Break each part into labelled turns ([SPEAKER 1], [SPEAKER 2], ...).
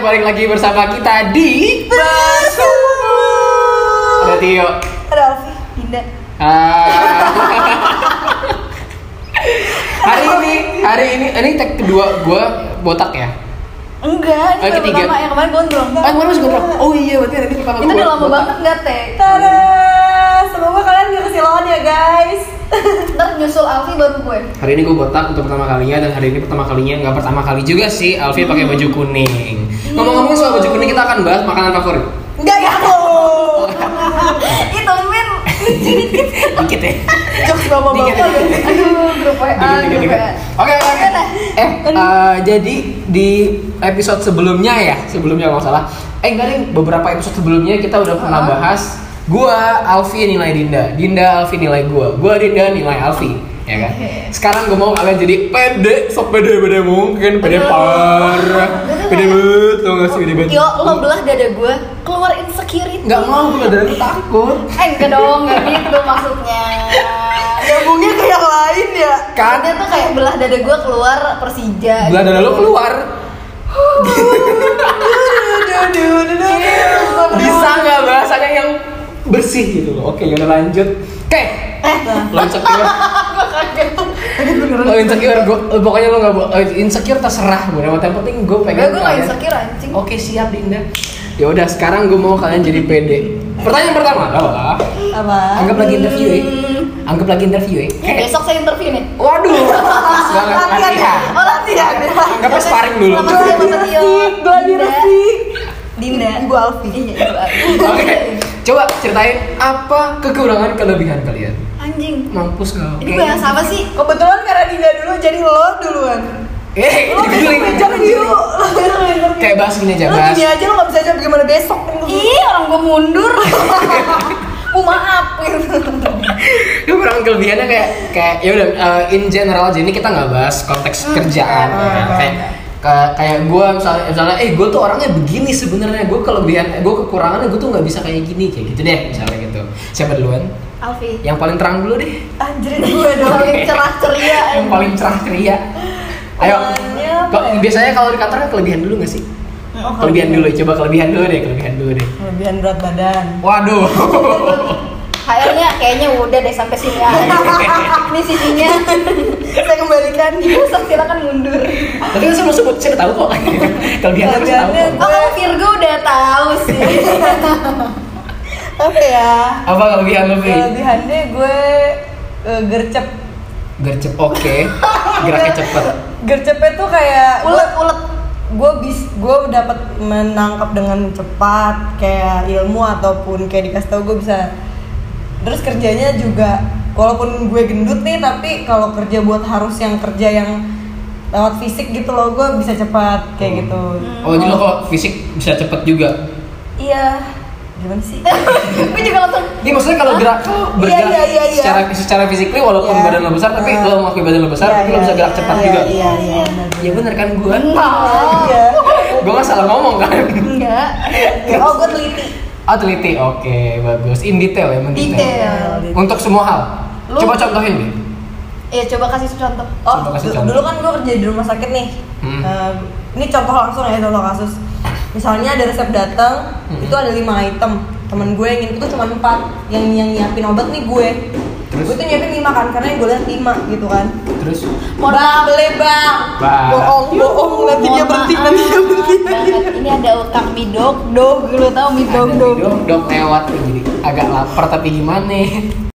[SPEAKER 1] balik lagi bersama kita di Ada Tio.
[SPEAKER 2] Ada Alfi, Dinda.
[SPEAKER 1] Ah. hari ini, hari ini, ini tag kedua gue botak ya.
[SPEAKER 2] Enggak,
[SPEAKER 1] Eh,
[SPEAKER 2] ini baru
[SPEAKER 1] ketiga.
[SPEAKER 2] pertama yang kemarin gondrong.
[SPEAKER 1] Ah, kemarin masih ngobrol. Oh iya, berarti hari ini pertama
[SPEAKER 2] Itu
[SPEAKER 1] gua
[SPEAKER 2] udah lama
[SPEAKER 1] botak.
[SPEAKER 2] banget nggak teh.
[SPEAKER 3] Tada! Semoga kalian gak kesilauan ya guys.
[SPEAKER 2] Ntar nyusul Alfi baru gue.
[SPEAKER 1] Hari ini gue botak untuk pertama kalinya dan hari ini pertama kalinya nggak pertama kali juga sih Alfi pakai baju kuning. Ngomong-ngomong soal baju kuning kita akan bahas makanan favorit.
[SPEAKER 3] Enggak ya tuh.
[SPEAKER 2] Itu min.
[SPEAKER 1] Dikit ya.
[SPEAKER 3] Jokes bapak-bapak
[SPEAKER 1] Dikit, dikit.
[SPEAKER 3] guys.
[SPEAKER 2] Aduh, grup WA,
[SPEAKER 1] Dikit, dikit,
[SPEAKER 2] grup
[SPEAKER 1] dikit.
[SPEAKER 2] WA.
[SPEAKER 1] Oke, oke, oke.
[SPEAKER 2] Mana?
[SPEAKER 1] Eh, eh, jadi di episode sebelumnya ya, sebelumnya kalau nggak salah. Eh, enggak deh, beberapa episode sebelumnya kita udah pernah
[SPEAKER 2] Ah.
[SPEAKER 1] bahas gua Alfi nilai Dinda, Dinda Alfi nilai gua, gua Dinda nilai Alfi, ya kan?
[SPEAKER 2] Oke.
[SPEAKER 1] Sekarang gua mau kalian jadi pede, sok pede pede mungkin, pede
[SPEAKER 2] Aduh.
[SPEAKER 1] parah,
[SPEAKER 2] Bener
[SPEAKER 1] pede
[SPEAKER 2] nggak?
[SPEAKER 1] banget, tau nggak sih pede banget?
[SPEAKER 2] Yo, lo belah dada gue keluar insecurity.
[SPEAKER 1] Nggak mau, gua dari aku takut.
[SPEAKER 2] Eh, enggak dong, enggak gitu maksudnya.
[SPEAKER 3] Nyambungnya ke yang lain ya.
[SPEAKER 1] Kan,
[SPEAKER 2] Ada tuh kayak belah dada gue keluar Persija. gitu.
[SPEAKER 1] belah dada lo keluar,
[SPEAKER 3] Duh, duh, duh, duh.
[SPEAKER 1] bisa nggak bahasanya yang bersih gitu loh? Oke, yaudah lanjut. Oke,
[SPEAKER 2] Eh,
[SPEAKER 1] lo insecure,
[SPEAKER 2] Gue kaget.
[SPEAKER 1] lo insecure, gua, eh, pokoknya lo nggak bo- eh, insecure terserah gue. Yang penting gue pengen.
[SPEAKER 2] Enggak, gue nggak
[SPEAKER 1] kalian-
[SPEAKER 2] insecure anjing.
[SPEAKER 1] Oke siap Dinda. Ya udah sekarang gue mau kalian jadi pede. Pertanyaan pertama adalah,
[SPEAKER 3] Apa?
[SPEAKER 1] anggap lagi interview ya.
[SPEAKER 2] Hmm.
[SPEAKER 1] Anggap lagi interview ya.
[SPEAKER 2] Ya, besok saya interview nih.
[SPEAKER 1] Waduh, pas banget
[SPEAKER 3] Latihan ya.
[SPEAKER 1] hati-hati.
[SPEAKER 3] Oh latihan ya.
[SPEAKER 1] Anggapnya sparring dulu. Iya,
[SPEAKER 2] Selamat
[SPEAKER 3] Gua
[SPEAKER 2] siang,
[SPEAKER 3] lagi
[SPEAKER 2] Bapak Tio. Iya.
[SPEAKER 3] resik, gua lagi
[SPEAKER 2] Dinda.
[SPEAKER 3] resik.
[SPEAKER 2] Dinda.
[SPEAKER 3] Gua Alfi.
[SPEAKER 2] Iya, Ibu Alfi.
[SPEAKER 1] Oke, coba ceritain apa kekurangan kelebihan kalian.
[SPEAKER 2] Anjing.
[SPEAKER 1] Mampus kau.
[SPEAKER 2] Ini bahas apa sih?
[SPEAKER 3] Kebetulan karena Dinda dulu jadi lo duluan.
[SPEAKER 1] Eh,
[SPEAKER 3] Lo besok
[SPEAKER 1] giling.
[SPEAKER 3] interview. Lo besok interview.
[SPEAKER 1] Kayak bahas gini aja,
[SPEAKER 3] Lo
[SPEAKER 1] bahas.
[SPEAKER 3] gini aja lo gak bisa jawab gimana besok.
[SPEAKER 2] Ih, orang gue mundur. Mau maaf gitu.
[SPEAKER 1] Kekurangan kelebihannya kayak kayak ya udah eh, in general aja ini kita nggak bahas konteks kerjaan
[SPEAKER 3] iya,
[SPEAKER 1] kan.
[SPEAKER 3] iya.
[SPEAKER 1] kayak ke- kayak gue misalnya misalnya eh gue tuh orangnya begini sebenarnya gue kelebihan gue kekurangannya gue tuh nggak bisa kayak gini kayak gitu deh misalnya gitu siapa duluan
[SPEAKER 2] Alfi.
[SPEAKER 1] yang paling terang dulu deh
[SPEAKER 3] Anjir gue dong.
[SPEAKER 2] Orang yang cerah ceria.
[SPEAKER 1] yang paling cerah ceria ayo
[SPEAKER 3] Kekurangannya apa
[SPEAKER 1] Kok-
[SPEAKER 3] ya?
[SPEAKER 1] biasanya kalau di kantor kan kelebihan dulu nggak sih
[SPEAKER 3] Oh,
[SPEAKER 1] kelebihan dulu coba kelebihan dulu deh kelebihan dulu deh
[SPEAKER 3] Kelebihan gitu. berat badan.
[SPEAKER 1] waduh
[SPEAKER 2] Kayaknya kayaknya udah deh sampai sini aja. Ini sisinya.
[SPEAKER 3] Saya kembalikan.
[SPEAKER 2] Besok silakan mundur.
[SPEAKER 1] tapi kan semua sebut saya udah tahu kok
[SPEAKER 3] Iya.
[SPEAKER 1] kelebihannya saya udah tahu
[SPEAKER 3] Kelebihannya-
[SPEAKER 1] kok.
[SPEAKER 2] Oh, kamu Virgo udah tahu sih.
[SPEAKER 3] Apa ya?
[SPEAKER 1] apa kelebihan lu Fi?
[SPEAKER 3] Kelebihannya gue eh, gercep.
[SPEAKER 1] gercep oke geraknya cepet
[SPEAKER 3] Gercepnya tuh kayak gue,
[SPEAKER 2] Ulet ulet.
[SPEAKER 3] gue bis gue dapat menangkap dengan cepat kayak ilmu ataupun kayak dikasih tau gue bisa. Terus kerjanya juga walaupun gue gendut nih tapi kalau kerja buat harus yang kerja yang lewat fisik gitu loh gue bisa cepat kayak gitu.
[SPEAKER 1] oh jadi lo kok fisik bisa cepet juga
[SPEAKER 3] Iya. Gimana sih?
[SPEAKER 2] Gue juga langsung
[SPEAKER 1] ini Iya, maksudnya kalau gerak lo bergerak
[SPEAKER 3] Ah, Iya, iya, iya, iya.
[SPEAKER 1] secara secara fisikly walaupun
[SPEAKER 3] Iya.
[SPEAKER 1] badan lo besar tapi
[SPEAKER 3] Ah.
[SPEAKER 1] lo mengakui badan lo besar
[SPEAKER 3] Iya,
[SPEAKER 1] tapi lo
[SPEAKER 3] iya,
[SPEAKER 1] bisa gerak
[SPEAKER 3] iya,
[SPEAKER 1] cepat
[SPEAKER 3] iya,
[SPEAKER 1] juga
[SPEAKER 3] Iya iya.
[SPEAKER 1] ya bener kan gue
[SPEAKER 2] Oh.
[SPEAKER 3] Iya.
[SPEAKER 1] gue nggak salah ngomong kan
[SPEAKER 2] enggak.
[SPEAKER 3] Oh gue teliti.
[SPEAKER 1] oh teliti oke bagus in detail ya mendetail
[SPEAKER 2] Detail.
[SPEAKER 1] untuk semua hal
[SPEAKER 2] Lu-
[SPEAKER 1] coba contohin deh
[SPEAKER 2] Ya coba kasih contoh.
[SPEAKER 3] Oh,
[SPEAKER 1] Contoh kasih
[SPEAKER 3] du-
[SPEAKER 1] contoh.
[SPEAKER 3] dulu kan gue kerja di rumah sakit nih.
[SPEAKER 1] Hmm.
[SPEAKER 3] Eh, ini contoh langsung ya contoh kasus. Misalnya ada resep datang,
[SPEAKER 1] Hmm.
[SPEAKER 3] itu ada lima item. Temen gue yang itu cuma empat. Yang yang nyiapin obat nih gue.
[SPEAKER 1] Terus?
[SPEAKER 3] Gue tuh nyiapin lima kan, karena yang gue lihat lima gitu kan.
[SPEAKER 1] terus
[SPEAKER 3] Bang, boleh bang.
[SPEAKER 1] Bang.
[SPEAKER 3] Bohong, bohong. Nanti dia berhenti, nanti dia berhenti.
[SPEAKER 2] Banget. Ini ada utang mie dog dog lu tau mie dog
[SPEAKER 1] Ada
[SPEAKER 2] dog.
[SPEAKER 1] dong dong lewat nih, jadi agak lapar tapi gimana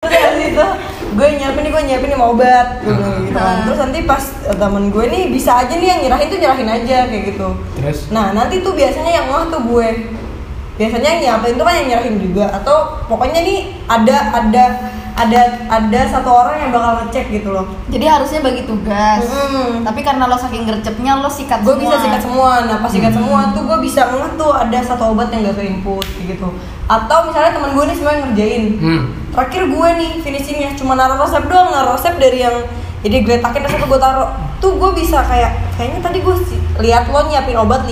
[SPEAKER 3] Terus habis itu gue nyiapin nih, gue nyiapin lima obat. Gue bilang gitu kan.
[SPEAKER 2] Hmm.
[SPEAKER 3] Terus nanti pas eh, temen gue nih bisa aja nih yang nyerahin tuh nyerahin aja kayak gitu.
[SPEAKER 1] terus
[SPEAKER 3] Nah nanti tuh biasanya yang ngeh tuh gue Biasanya yang nyiapin tuh kan yang nyerahin juga Atau pokoknya nih ada ada ada ada satu orang yang bakal ngecek gitu loh
[SPEAKER 2] Jadi harusnya bagi tugas.
[SPEAKER 3] Mm-mm.
[SPEAKER 2] Tapi karena lo saking gercepnya lo sikat
[SPEAKER 3] Gue
[SPEAKER 2] semua.
[SPEAKER 3] bisa sikat semua, nah pas sikat semua tuh gue bisa ngeh tuh ada satu obat yang gak ke input gitu Atau misalnya temen gue nih semua yang ngerjain
[SPEAKER 1] hmm
[SPEAKER 3] Terakhir gue nih finishingnya cuma naruh resep doang, naruh resep dari yang jadi gue takin resep gue taruh tuh gue bisa kayak kayaknya tadi gue si- lihat lo nyiapin obat 5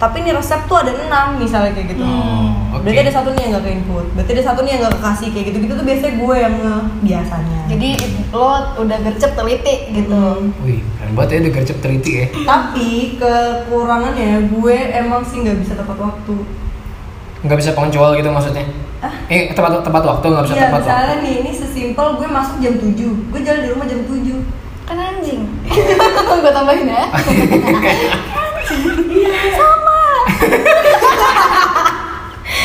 [SPEAKER 3] tapi nih resep tuh ada enam misalnya kayak gitu
[SPEAKER 1] Oh, oke.
[SPEAKER 3] berarti ada satu nih yang nggak ke input berarti ada satu nih yang nggak kekasih kayak gitu gitu tuh biasanya gue yang nge- biasanya
[SPEAKER 2] Jadi lo udah gercep teliti gitu.
[SPEAKER 3] Hmm.
[SPEAKER 1] Wih, keren banget ya udah gercep teliti ya.
[SPEAKER 3] tapi kekurangannya gue emang sih nggak bisa tepat waktu
[SPEAKER 1] Nggak bisa punctual gitu maksudnya. Eh, tepat tepat waktu nggak bisa
[SPEAKER 3] Ah. Iya,
[SPEAKER 1] tepat waktu.
[SPEAKER 3] misalnya nih, ini sesimpel gue masuk jam 7 Gue jalan di rumah jam 7
[SPEAKER 2] Kan anjing. Gue tambahin ya.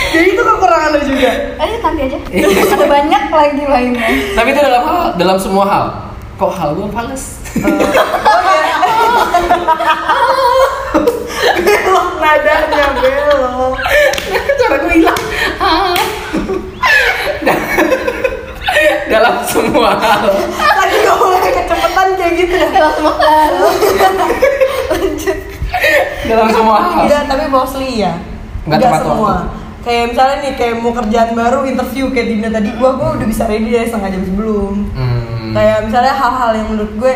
[SPEAKER 3] Jadi
[SPEAKER 1] gitu
[SPEAKER 3] itu kekurangan lo juga?
[SPEAKER 2] Ayo Eh, nanti aja. Ada banyak lagi lainnya.
[SPEAKER 1] Tapi itu dalam hal, dalam semua hal. Kok hal gue males?
[SPEAKER 3] Oh iya Belok nadanya, belok
[SPEAKER 1] Cara gue hilang. dalam semua hal.
[SPEAKER 3] Tadi gak boleh kecepatan kayak gitu ya
[SPEAKER 2] Kita langsung makan. Lanjut.
[SPEAKER 1] Dalam
[SPEAKER 3] Iya.
[SPEAKER 1] semua hal.
[SPEAKER 3] Enggak, tapi mostly ya
[SPEAKER 1] Nggak tepat
[SPEAKER 3] semua
[SPEAKER 1] waktu.
[SPEAKER 3] Kayak misalnya nih, kayak mau kerjaan baru, interview kayak Dinda tadi Gue gue udah bisa ready dari setengah jam sebelum
[SPEAKER 1] Hmm.
[SPEAKER 3] kayak misalnya hal-hal yang menurut gue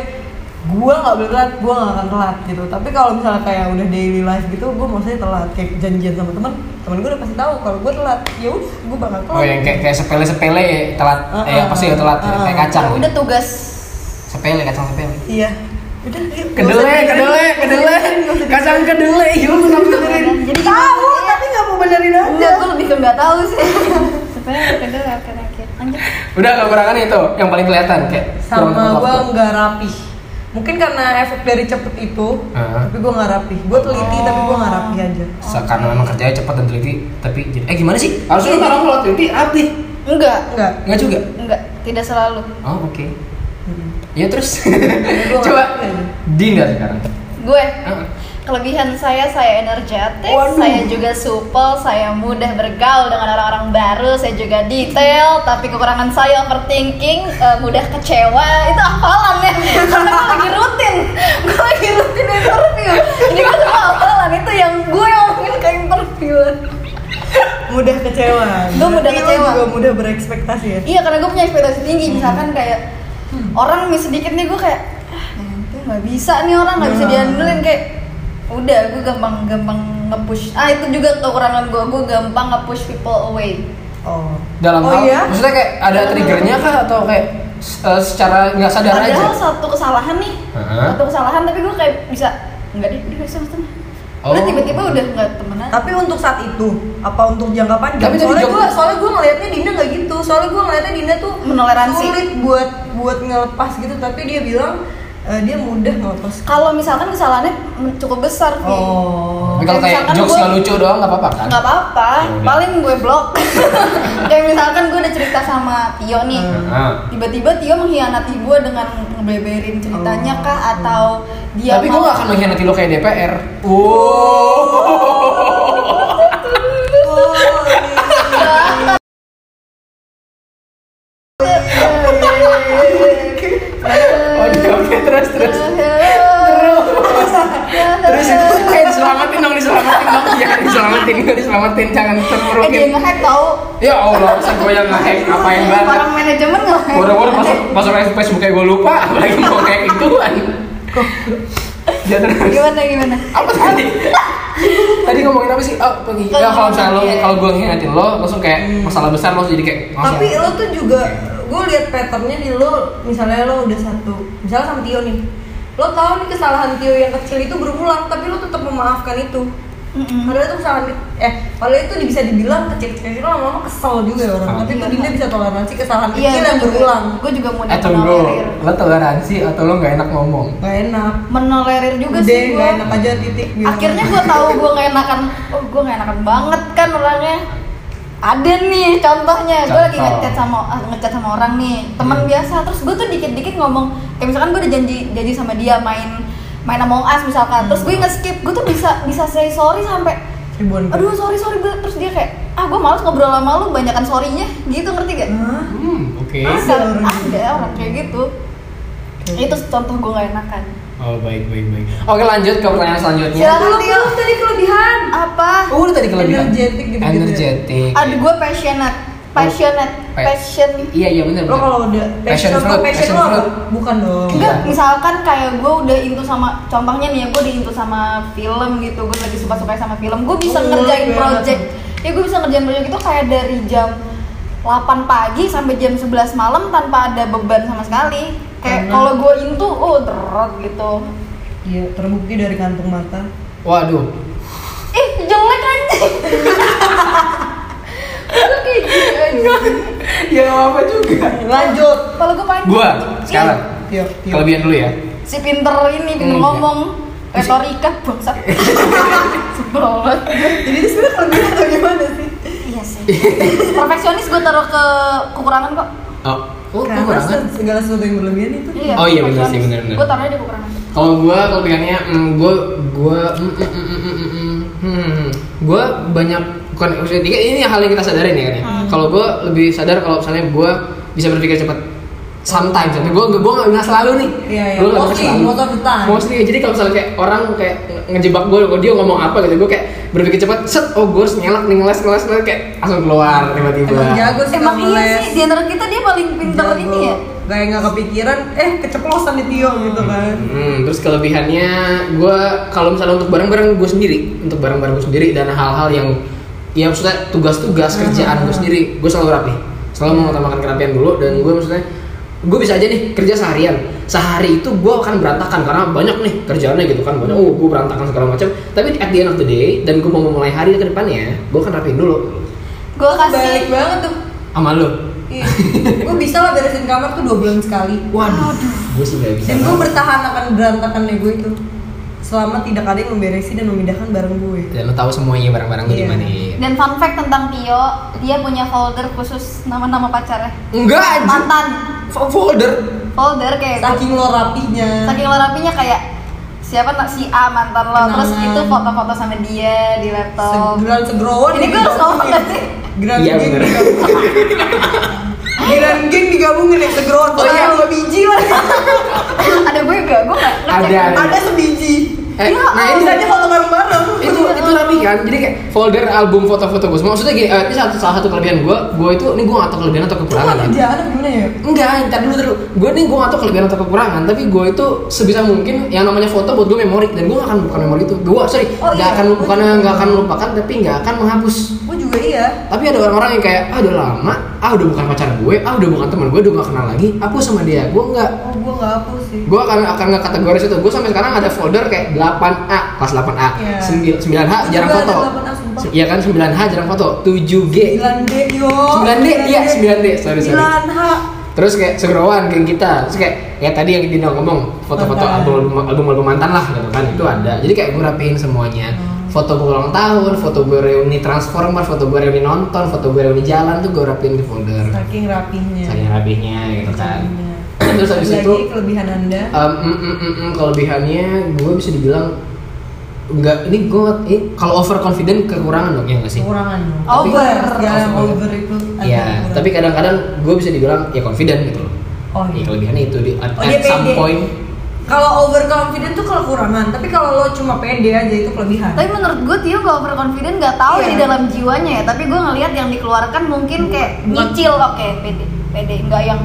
[SPEAKER 3] gue nggak boleh telat gue nggak akan telat gitu tapi kalau misalnya kayak udah daily life gitu gue maksudnya telat kayak janjian sama teman teman gue udah pasti tahu kalau gue telat ya udah gue bakal telat
[SPEAKER 1] Oh yang kayak kayak sepele-sepele telat, eh
[SPEAKER 3] Uh-uh.
[SPEAKER 1] pasti ya telat, ya.
[SPEAKER 3] Uh-uh.
[SPEAKER 1] kayak kacang.
[SPEAKER 2] Udah tugas.
[SPEAKER 1] Sepele kacang sepele.
[SPEAKER 3] iya udah yuk
[SPEAKER 1] Kedele, kedele, kedele, kacang kedele, yuk kenapa benerin?
[SPEAKER 2] Jadi
[SPEAKER 3] tahu tapi nggak mau benerin aja
[SPEAKER 2] Enggak, gue lebih ke nggak tahu sih. Sebenarnya udah kedel akhir-akhir. Lanjut.
[SPEAKER 1] Udah kekurangan itu yang paling kelihatan kayak kurang tepat
[SPEAKER 3] sama gue
[SPEAKER 1] waktu.
[SPEAKER 3] nggak rapi mungkin karena efek dari cepet itu
[SPEAKER 1] Heeh.
[SPEAKER 3] tapi gue nggak rapi gue teliti tapi gue nggak rapi aja
[SPEAKER 1] Se- Karena memang kerjanya cepat dan teliti, tapi jadi- eh gimana sih? Harusnya orang kalau teliti rapi,
[SPEAKER 2] Enggak.
[SPEAKER 3] enggak
[SPEAKER 1] nggak juga?
[SPEAKER 2] Enggak, tidak selalu.
[SPEAKER 1] Oh oke. Ya terus
[SPEAKER 3] gua nggak
[SPEAKER 1] coba
[SPEAKER 3] rapi aja.
[SPEAKER 1] dinner sekarang.
[SPEAKER 2] Gue
[SPEAKER 3] Ah.
[SPEAKER 1] Heeh.
[SPEAKER 2] Kelebihan saya, saya energetik,
[SPEAKER 3] Waduh.
[SPEAKER 2] saya juga supel, saya mudah bergaul dengan orang-orang baru, saya juga detail, tapi kekurangan saya overthinking, eh, mudah kecewa, itu hafalan ya, karena gue lagi rutin, gue lagi rutin interview, ini gue semua hafalan, itu yang gue omongin ke interviewer.
[SPEAKER 3] mudah kecewa
[SPEAKER 2] Gua mudah
[SPEAKER 3] Berarti lo
[SPEAKER 2] kecewa.
[SPEAKER 3] juga mudah berekspektasi ya
[SPEAKER 2] Iya karena gue punya ekspektasi tinggi,
[SPEAKER 3] Hmm.
[SPEAKER 2] misalkan kayak orang nih sedikit nih gue kayak, ah nanti nggak bisa nih orang nggak bisa
[SPEAKER 3] Nah.
[SPEAKER 2] diandelin kayak, udah gue gampang-gampang nge-push ah itu juga kekurangan gue gue gampang nge-push people away
[SPEAKER 3] oh
[SPEAKER 1] Dalam
[SPEAKER 3] oh,
[SPEAKER 1] hal,
[SPEAKER 3] iya?
[SPEAKER 1] maksudnya kayak ada triggernya kah atau kayak eh, secara nggak sadar aja?
[SPEAKER 2] Padahal satu kesalahan nih,
[SPEAKER 1] Heeh.
[SPEAKER 2] satu kesalahan tapi gue kayak bisa enggak deh, dia sama temen. Udah
[SPEAKER 1] Oh.
[SPEAKER 2] tiba-tiba udah enggak temenan.
[SPEAKER 3] Tapi untuk saat itu, apa untuk jangka panjang?
[SPEAKER 1] Tapi tadi
[SPEAKER 3] soalnya
[SPEAKER 1] jawab-
[SPEAKER 3] gue soalnya gue ngelihatnya Dinda nggak gitu. Soalnya gue ngelihatnya Dinda tuh
[SPEAKER 2] Menoleransi.
[SPEAKER 3] sulit buat buat ngelepas gitu. Tapi dia bilang eh, dia mudah ngelepas.
[SPEAKER 2] Kalau misalkan kesalahannya men- cukup besar, Vi.
[SPEAKER 3] Oh.
[SPEAKER 1] Tapi kalau
[SPEAKER 2] Kayak
[SPEAKER 1] kayak
[SPEAKER 2] misalkan
[SPEAKER 1] jokes
[SPEAKER 2] gua-
[SPEAKER 1] nggak lucu doang nggak apa-apa kan?
[SPEAKER 2] nggak apa-apa,
[SPEAKER 1] Ya udah.
[SPEAKER 2] paling gue blok. Kayak misalkan gue udah cerita sama Tio nih,
[SPEAKER 1] Heeh.
[SPEAKER 2] tiba-tiba Tio mengkhianati gue dengan ngebeberin ceritanya
[SPEAKER 3] Oh.
[SPEAKER 2] kah atau dia
[SPEAKER 1] Tapi gue
[SPEAKER 2] mau-
[SPEAKER 1] gak akan mengkhianati lo kayak DPR. Wow.
[SPEAKER 3] Oh,
[SPEAKER 1] Oke Oh, iya, oke terus terus. Terus itu kayak
[SPEAKER 2] Eh,
[SPEAKER 1] diselamatin dong, diselamatin dong. Jangan diselamatin, gak diselamatin, jangan
[SPEAKER 2] Eh dia
[SPEAKER 1] terperukin.
[SPEAKER 2] nge-hack tau
[SPEAKER 1] Ya Allah, masa gue yang nge-hack apain banget.
[SPEAKER 2] Orang manajemen nge-hack
[SPEAKER 1] Boro-boro masuk masuk Facebook kayak gue lupa, apalagi mau kayak gituan. Ya terus.
[SPEAKER 2] Gimana gimana?
[SPEAKER 1] Apa tadi? Tadi ngomongin apa sih? Oh, pergi. Ya kalau misalnya lo, kalau gue ngeliatin lo, langsung kayak masalah besar lo jadi kayak ya." Eh, langsung.
[SPEAKER 3] Tapi lo tuh juga gue lihat patternnya di lo. Misalnya lo udah satu, misalnya sama Tio nih. Lo tahu nih kesalahan Tio yang kecil itu berulang, tapi lo tetap memaafkan itu.
[SPEAKER 2] Mm-mm.
[SPEAKER 3] Padahal itu kesalahan eh padahal itu bisa dibilang kecil-kecil lama-lama kesel juga ya
[SPEAKER 1] Kesel.
[SPEAKER 3] orang. Tapi itu Dinda bisa toleransi kesalahan
[SPEAKER 2] Iya,
[SPEAKER 3] kecil yang
[SPEAKER 2] gue juga-
[SPEAKER 3] berulang.
[SPEAKER 2] Gue juga mau
[SPEAKER 1] Eh tunggu, lo toleransi atau lo gak enak ngomong?
[SPEAKER 3] Gak enak.
[SPEAKER 2] Menolerir juga
[SPEAKER 3] Udah
[SPEAKER 2] sih
[SPEAKER 3] gak
[SPEAKER 2] gue
[SPEAKER 3] enak aja titik gitu. bilang.
[SPEAKER 2] Akhirnya gue tahu gue gak enakan Oh gue gak enakan banget kan orangnya ada nih contohnya gue lagi
[SPEAKER 1] Contoh.
[SPEAKER 2] ngechat sama ah, ngechat sama orang nih teman
[SPEAKER 1] Hmm.
[SPEAKER 2] biasa terus gue tuh dikit-dikit ngomong kayak misalkan gue udah janji janji sama dia main main Among Us misalkan terus gue nge-skip gue tuh bisa bisa say sorry sampai
[SPEAKER 3] ribuan.
[SPEAKER 2] aduh sorry sorry gue terus dia kayak ah gue males ngobrol sama lu banyakan sorrynya gitu ngerti gak?
[SPEAKER 3] Hah?
[SPEAKER 1] Hmm, oke.
[SPEAKER 2] Ada,
[SPEAKER 3] orang
[SPEAKER 2] ada orang kayak gitu
[SPEAKER 3] Iya.
[SPEAKER 2] itu contoh gue gak enakan
[SPEAKER 1] Oh baik baik baik. Oke lanjut ke pertanyaan selanjutnya.
[SPEAKER 2] Silakan.
[SPEAKER 3] Kalau dia tadi kelebihan.
[SPEAKER 2] apa
[SPEAKER 1] Oh, udah tadi kelebihan.
[SPEAKER 3] Energetic gitu-gitu ya?
[SPEAKER 1] Energetic.
[SPEAKER 2] aduh gue passionate passionate
[SPEAKER 1] Pe-
[SPEAKER 2] passion
[SPEAKER 1] Iya iya benar.
[SPEAKER 3] Lo kalau udah
[SPEAKER 1] Passion
[SPEAKER 3] passion,
[SPEAKER 1] fruit,
[SPEAKER 3] lo passion,
[SPEAKER 1] passion
[SPEAKER 3] lo apa?
[SPEAKER 1] fruit.
[SPEAKER 3] Bukan dong.
[SPEAKER 2] Enggak, misalkan kayak gue udah into sama contohnya nih ya gue diintu sama film gitu gue lagi suka suka sama film gue bisa
[SPEAKER 3] Oh,
[SPEAKER 2] ngerjain
[SPEAKER 3] iya.
[SPEAKER 2] project ya gue bisa ngerjain project itu kayak dari jam 8 pagi sampai jam 11 malam tanpa ada beban sama sekali kayak
[SPEAKER 3] Karena-
[SPEAKER 2] kalau gue into oh terot gitu
[SPEAKER 3] Iya, terbukti dari kantung mata.
[SPEAKER 1] Waduh.
[SPEAKER 2] ih jelek anjing gue kayak gitu anjing
[SPEAKER 1] Ya apa juga.
[SPEAKER 3] Lanjut.
[SPEAKER 2] kalau gue panik
[SPEAKER 1] Gua
[SPEAKER 2] Ih,
[SPEAKER 1] sekarang
[SPEAKER 3] Tio, Tio.
[SPEAKER 1] kelebihan dulu ya.
[SPEAKER 2] si pinter ini
[SPEAKER 1] Hmm,
[SPEAKER 2] pinter
[SPEAKER 1] iya.
[SPEAKER 2] ngomong
[SPEAKER 1] Si-
[SPEAKER 2] retorika bangsat sebel banget
[SPEAKER 3] Jadi itu sebenarnya kelebihan atau gimana sih?
[SPEAKER 2] Iya sih. Perfeksionis gue taruh ke kekurangan kok.
[SPEAKER 1] Oh, oh
[SPEAKER 3] Karena
[SPEAKER 1] kekurangan.
[SPEAKER 3] se- segala sesuatu yang berlebihan itu.
[SPEAKER 1] Oh iya, bener sih, bener, bener.
[SPEAKER 2] Gue taruhnya di kekurangan.
[SPEAKER 1] Kalau gue kelebihannya, mm, gue gue mm, mm, mm, mm, mm, mm, hmm, gue banyak bukan maksudnya ini- ini hal yang kita sadarin ya kan ya.
[SPEAKER 3] Hmm.
[SPEAKER 1] Kalau gue lebih sadar kalau misalnya gue bisa berpikir cepat sometimes tapi gue gue nggak selalu nih
[SPEAKER 3] Iya, iya.
[SPEAKER 1] Gua nggak
[SPEAKER 3] Mostly,
[SPEAKER 1] selalu.
[SPEAKER 3] most of the time.
[SPEAKER 1] mostly jadi kalau misalnya kayak orang kayak nge- ngejebak gue kalau dia ngomong apa gitu gue kayak berpikir cepat set oh gue harus nyelak nih ngeles ngeles ngeles kayak langsung keluar tiba-tiba
[SPEAKER 3] Emang jago sih
[SPEAKER 2] Emang
[SPEAKER 3] kamu
[SPEAKER 2] iya
[SPEAKER 3] les.
[SPEAKER 2] sih, di antara kita dia paling pinter
[SPEAKER 3] Jago.
[SPEAKER 2] ini ya.
[SPEAKER 3] Kayak nggak kepikiran, eh keceplosan di Tio gitu kan.
[SPEAKER 1] Hmm, terus kelebihannya gue kalau misalnya untuk barang-barang gue sendiri, untuk barang-barang gue sendiri dan hal-hal yang ya maksudnya tugas-tugas kerjaan
[SPEAKER 3] Ah.
[SPEAKER 1] gue sendiri, gue selalu rapi, selalu mengutamakan kerapian dulu dan gue maksudnya gue bisa aja nih kerja seharian, sehari itu gue akan berantakan karena banyak nih kerjaannya gitu kan banyak, oh gue berantakan segala macam, tapi at the end of the day dan gue mau memulai hari ke depannya, gue akan rapiin dulu
[SPEAKER 2] Gue
[SPEAKER 3] Balik
[SPEAKER 2] kasih.
[SPEAKER 3] banget tuh.
[SPEAKER 1] sama lo.
[SPEAKER 3] Iya. gue bisa lah beresin kamar tuh dua bulan sekali.
[SPEAKER 1] Waduh, gue sih gak bisa.
[SPEAKER 3] Dan gue
[SPEAKER 1] banget.
[SPEAKER 3] bertahan akan berantakannya gue itu selama tidak ada yang memberesi dan memindahkan barang gue.
[SPEAKER 1] dan lo tahu semuanya barang-barang gue di
[SPEAKER 3] Iya.
[SPEAKER 1] mana.
[SPEAKER 2] Dan fun fact tentang Tio, dia punya folder khusus nama-nama pacarnya.
[SPEAKER 1] Enggak, anjing.
[SPEAKER 2] Mantan.
[SPEAKER 1] folder
[SPEAKER 2] Folder kayak
[SPEAKER 3] Saking lo rapinya.
[SPEAKER 2] saking lo rapinya kayak siapa tak si A mantan lo terus
[SPEAKER 3] Kenangan.
[SPEAKER 2] itu foto-foto sama dia di laptop
[SPEAKER 3] Segeran segerowan
[SPEAKER 2] ini gue harus ngomong gak sih
[SPEAKER 3] Geran
[SPEAKER 1] Iya,
[SPEAKER 3] gitu. geng
[SPEAKER 1] bener.
[SPEAKER 3] digabungin Geran geng digabungin ya segerowan
[SPEAKER 1] Oh, iya.
[SPEAKER 3] Dua biji lah
[SPEAKER 2] ada gue gak gue gak ngecek.
[SPEAKER 1] Ada, ada.
[SPEAKER 3] Ada sebiji
[SPEAKER 1] Eh,
[SPEAKER 2] Ya,
[SPEAKER 1] nah
[SPEAKER 3] Nah,
[SPEAKER 1] ini
[SPEAKER 3] Bisa aja foto bareng-bareng
[SPEAKER 1] itu itu rapi kan jadi kayak folder album foto-foto gue semua maksudnya gini, eh, ini satu salah satu kelebihan gue gue itu ini gue nggak tahu kelebihan atau kekurangan ya
[SPEAKER 3] kerjaan apa gimana ya?
[SPEAKER 1] enggak ntar dulu ntar dulu gue nih gue nggak tahu kelebihan atau kekurangan tapi gue itu sebisa mungkin yang namanya foto buat gue memori dan gue nggak akan bukan memori itu gue sorry nggak
[SPEAKER 3] Oh, iya.
[SPEAKER 1] akan bukan nggak akan melupakan tapi nggak akan menghapus
[SPEAKER 3] Gue juga iya
[SPEAKER 1] tapi ada orang-orang yang kayak ah udah lama ah udah bukan pacar gue ah udah bukan teman gue udah gak kenal lagi aku sama dia gue nggak
[SPEAKER 3] Oh gue gak hapus sih
[SPEAKER 1] gue akan akan nggak kategoris itu gue sampai sekarang ada folder kayak 8A kelas 8A
[SPEAKER 3] Iya.
[SPEAKER 1] 9 h jarang
[SPEAKER 3] Gua juga
[SPEAKER 1] foto
[SPEAKER 3] ada 8A, sumpah.
[SPEAKER 1] iya kan 9H jarang foto 7G
[SPEAKER 3] 9D yo
[SPEAKER 1] 9D, iya, 9D. Sorry, sorry.
[SPEAKER 3] 9H
[SPEAKER 1] terus kayak segerowan geng kita terus kayak ya tadi yang Dino ngomong foto-foto
[SPEAKER 3] Mantan.
[SPEAKER 1] album album album mantan lah gitu kan itu ada jadi kayak gue rapiin semuanya
[SPEAKER 3] Hmm.
[SPEAKER 1] foto gue ulang tahun foto gue reuni transformer foto gue reuni nonton foto gue reuni jalan tuh gue rapiin di folder
[SPEAKER 3] Saking rapinya
[SPEAKER 1] saking rapihnya gitu kan
[SPEAKER 3] Rapinya.
[SPEAKER 1] terus habis
[SPEAKER 3] Lagi
[SPEAKER 1] itu
[SPEAKER 3] kelebihan anda
[SPEAKER 1] Um, mm, mm, mm, mm, kelebihannya gue bisa dibilang nggak ini gue eh, kalau overconfident kekurangan dong ya nggak sih
[SPEAKER 3] Kekurangan dong
[SPEAKER 2] Over.
[SPEAKER 3] Segala yang over itu ada
[SPEAKER 1] Iya,
[SPEAKER 3] kekurangan.
[SPEAKER 1] tapi kadang-kadang gue bisa dibilang ya confident gitu loh.
[SPEAKER 3] Oh
[SPEAKER 1] Ya,
[SPEAKER 3] iya
[SPEAKER 1] kelebihannya itu di at,
[SPEAKER 3] Oh, dia
[SPEAKER 1] at some
[SPEAKER 3] pede.
[SPEAKER 1] point.
[SPEAKER 3] Kalau overconfident tuh kekurangan, tapi kalau lo cuma pede aja itu kelebihan.
[SPEAKER 2] tapi menurut gue Tio gak overconfident gak tahu
[SPEAKER 3] Iya.
[SPEAKER 2] di dalam jiwanya ya tapi gue ngelihat yang dikeluarkan mungkin kayak
[SPEAKER 3] Bukan.
[SPEAKER 2] nyicil oke pede pede nggak yang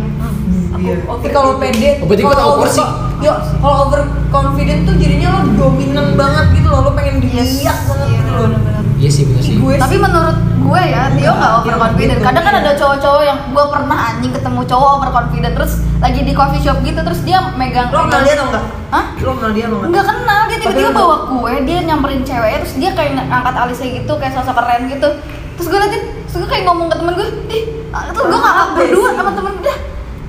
[SPEAKER 3] Iya.
[SPEAKER 2] Aku-
[SPEAKER 3] Tapi kalau pede,
[SPEAKER 1] Oh, berarti gua
[SPEAKER 3] kalau
[SPEAKER 1] tahu
[SPEAKER 3] over-
[SPEAKER 1] porsi.
[SPEAKER 3] Ya, kalau overconfident tuh jadinya lo dominan banget gitu loh, lo pengen
[SPEAKER 2] Yes.
[SPEAKER 3] dilihat banget
[SPEAKER 2] Iya,
[SPEAKER 3] gitu loh.
[SPEAKER 2] bener-bener.
[SPEAKER 1] Iya sih bener
[SPEAKER 3] Ih,
[SPEAKER 1] sih.
[SPEAKER 3] gue
[SPEAKER 2] tapi
[SPEAKER 3] sih.
[SPEAKER 2] menurut gue ya Tio
[SPEAKER 3] Iya,
[SPEAKER 2] gak overconfident
[SPEAKER 3] iya,
[SPEAKER 2] kadang kan
[SPEAKER 3] iya.
[SPEAKER 2] ada cowok-cowok yang gue pernah anjing ketemu cowok overconfident terus lagi di coffee shop gitu terus dia megang
[SPEAKER 3] lo kenal dia atau enggak?
[SPEAKER 2] Hah?
[SPEAKER 3] Lo kenal dia atau
[SPEAKER 2] Enggak kenal, dia tiba-tiba
[SPEAKER 3] Padahal-
[SPEAKER 2] bawa kue, dia nyamperin ceweknya terus dia kayak ngangkat alisnya gitu, kayak sosok keren gitu Terus gue liatin, terus gue kayak ngomong ke temen gue, ih, ah," terus gue ngangkat berdua sama temen gue, dah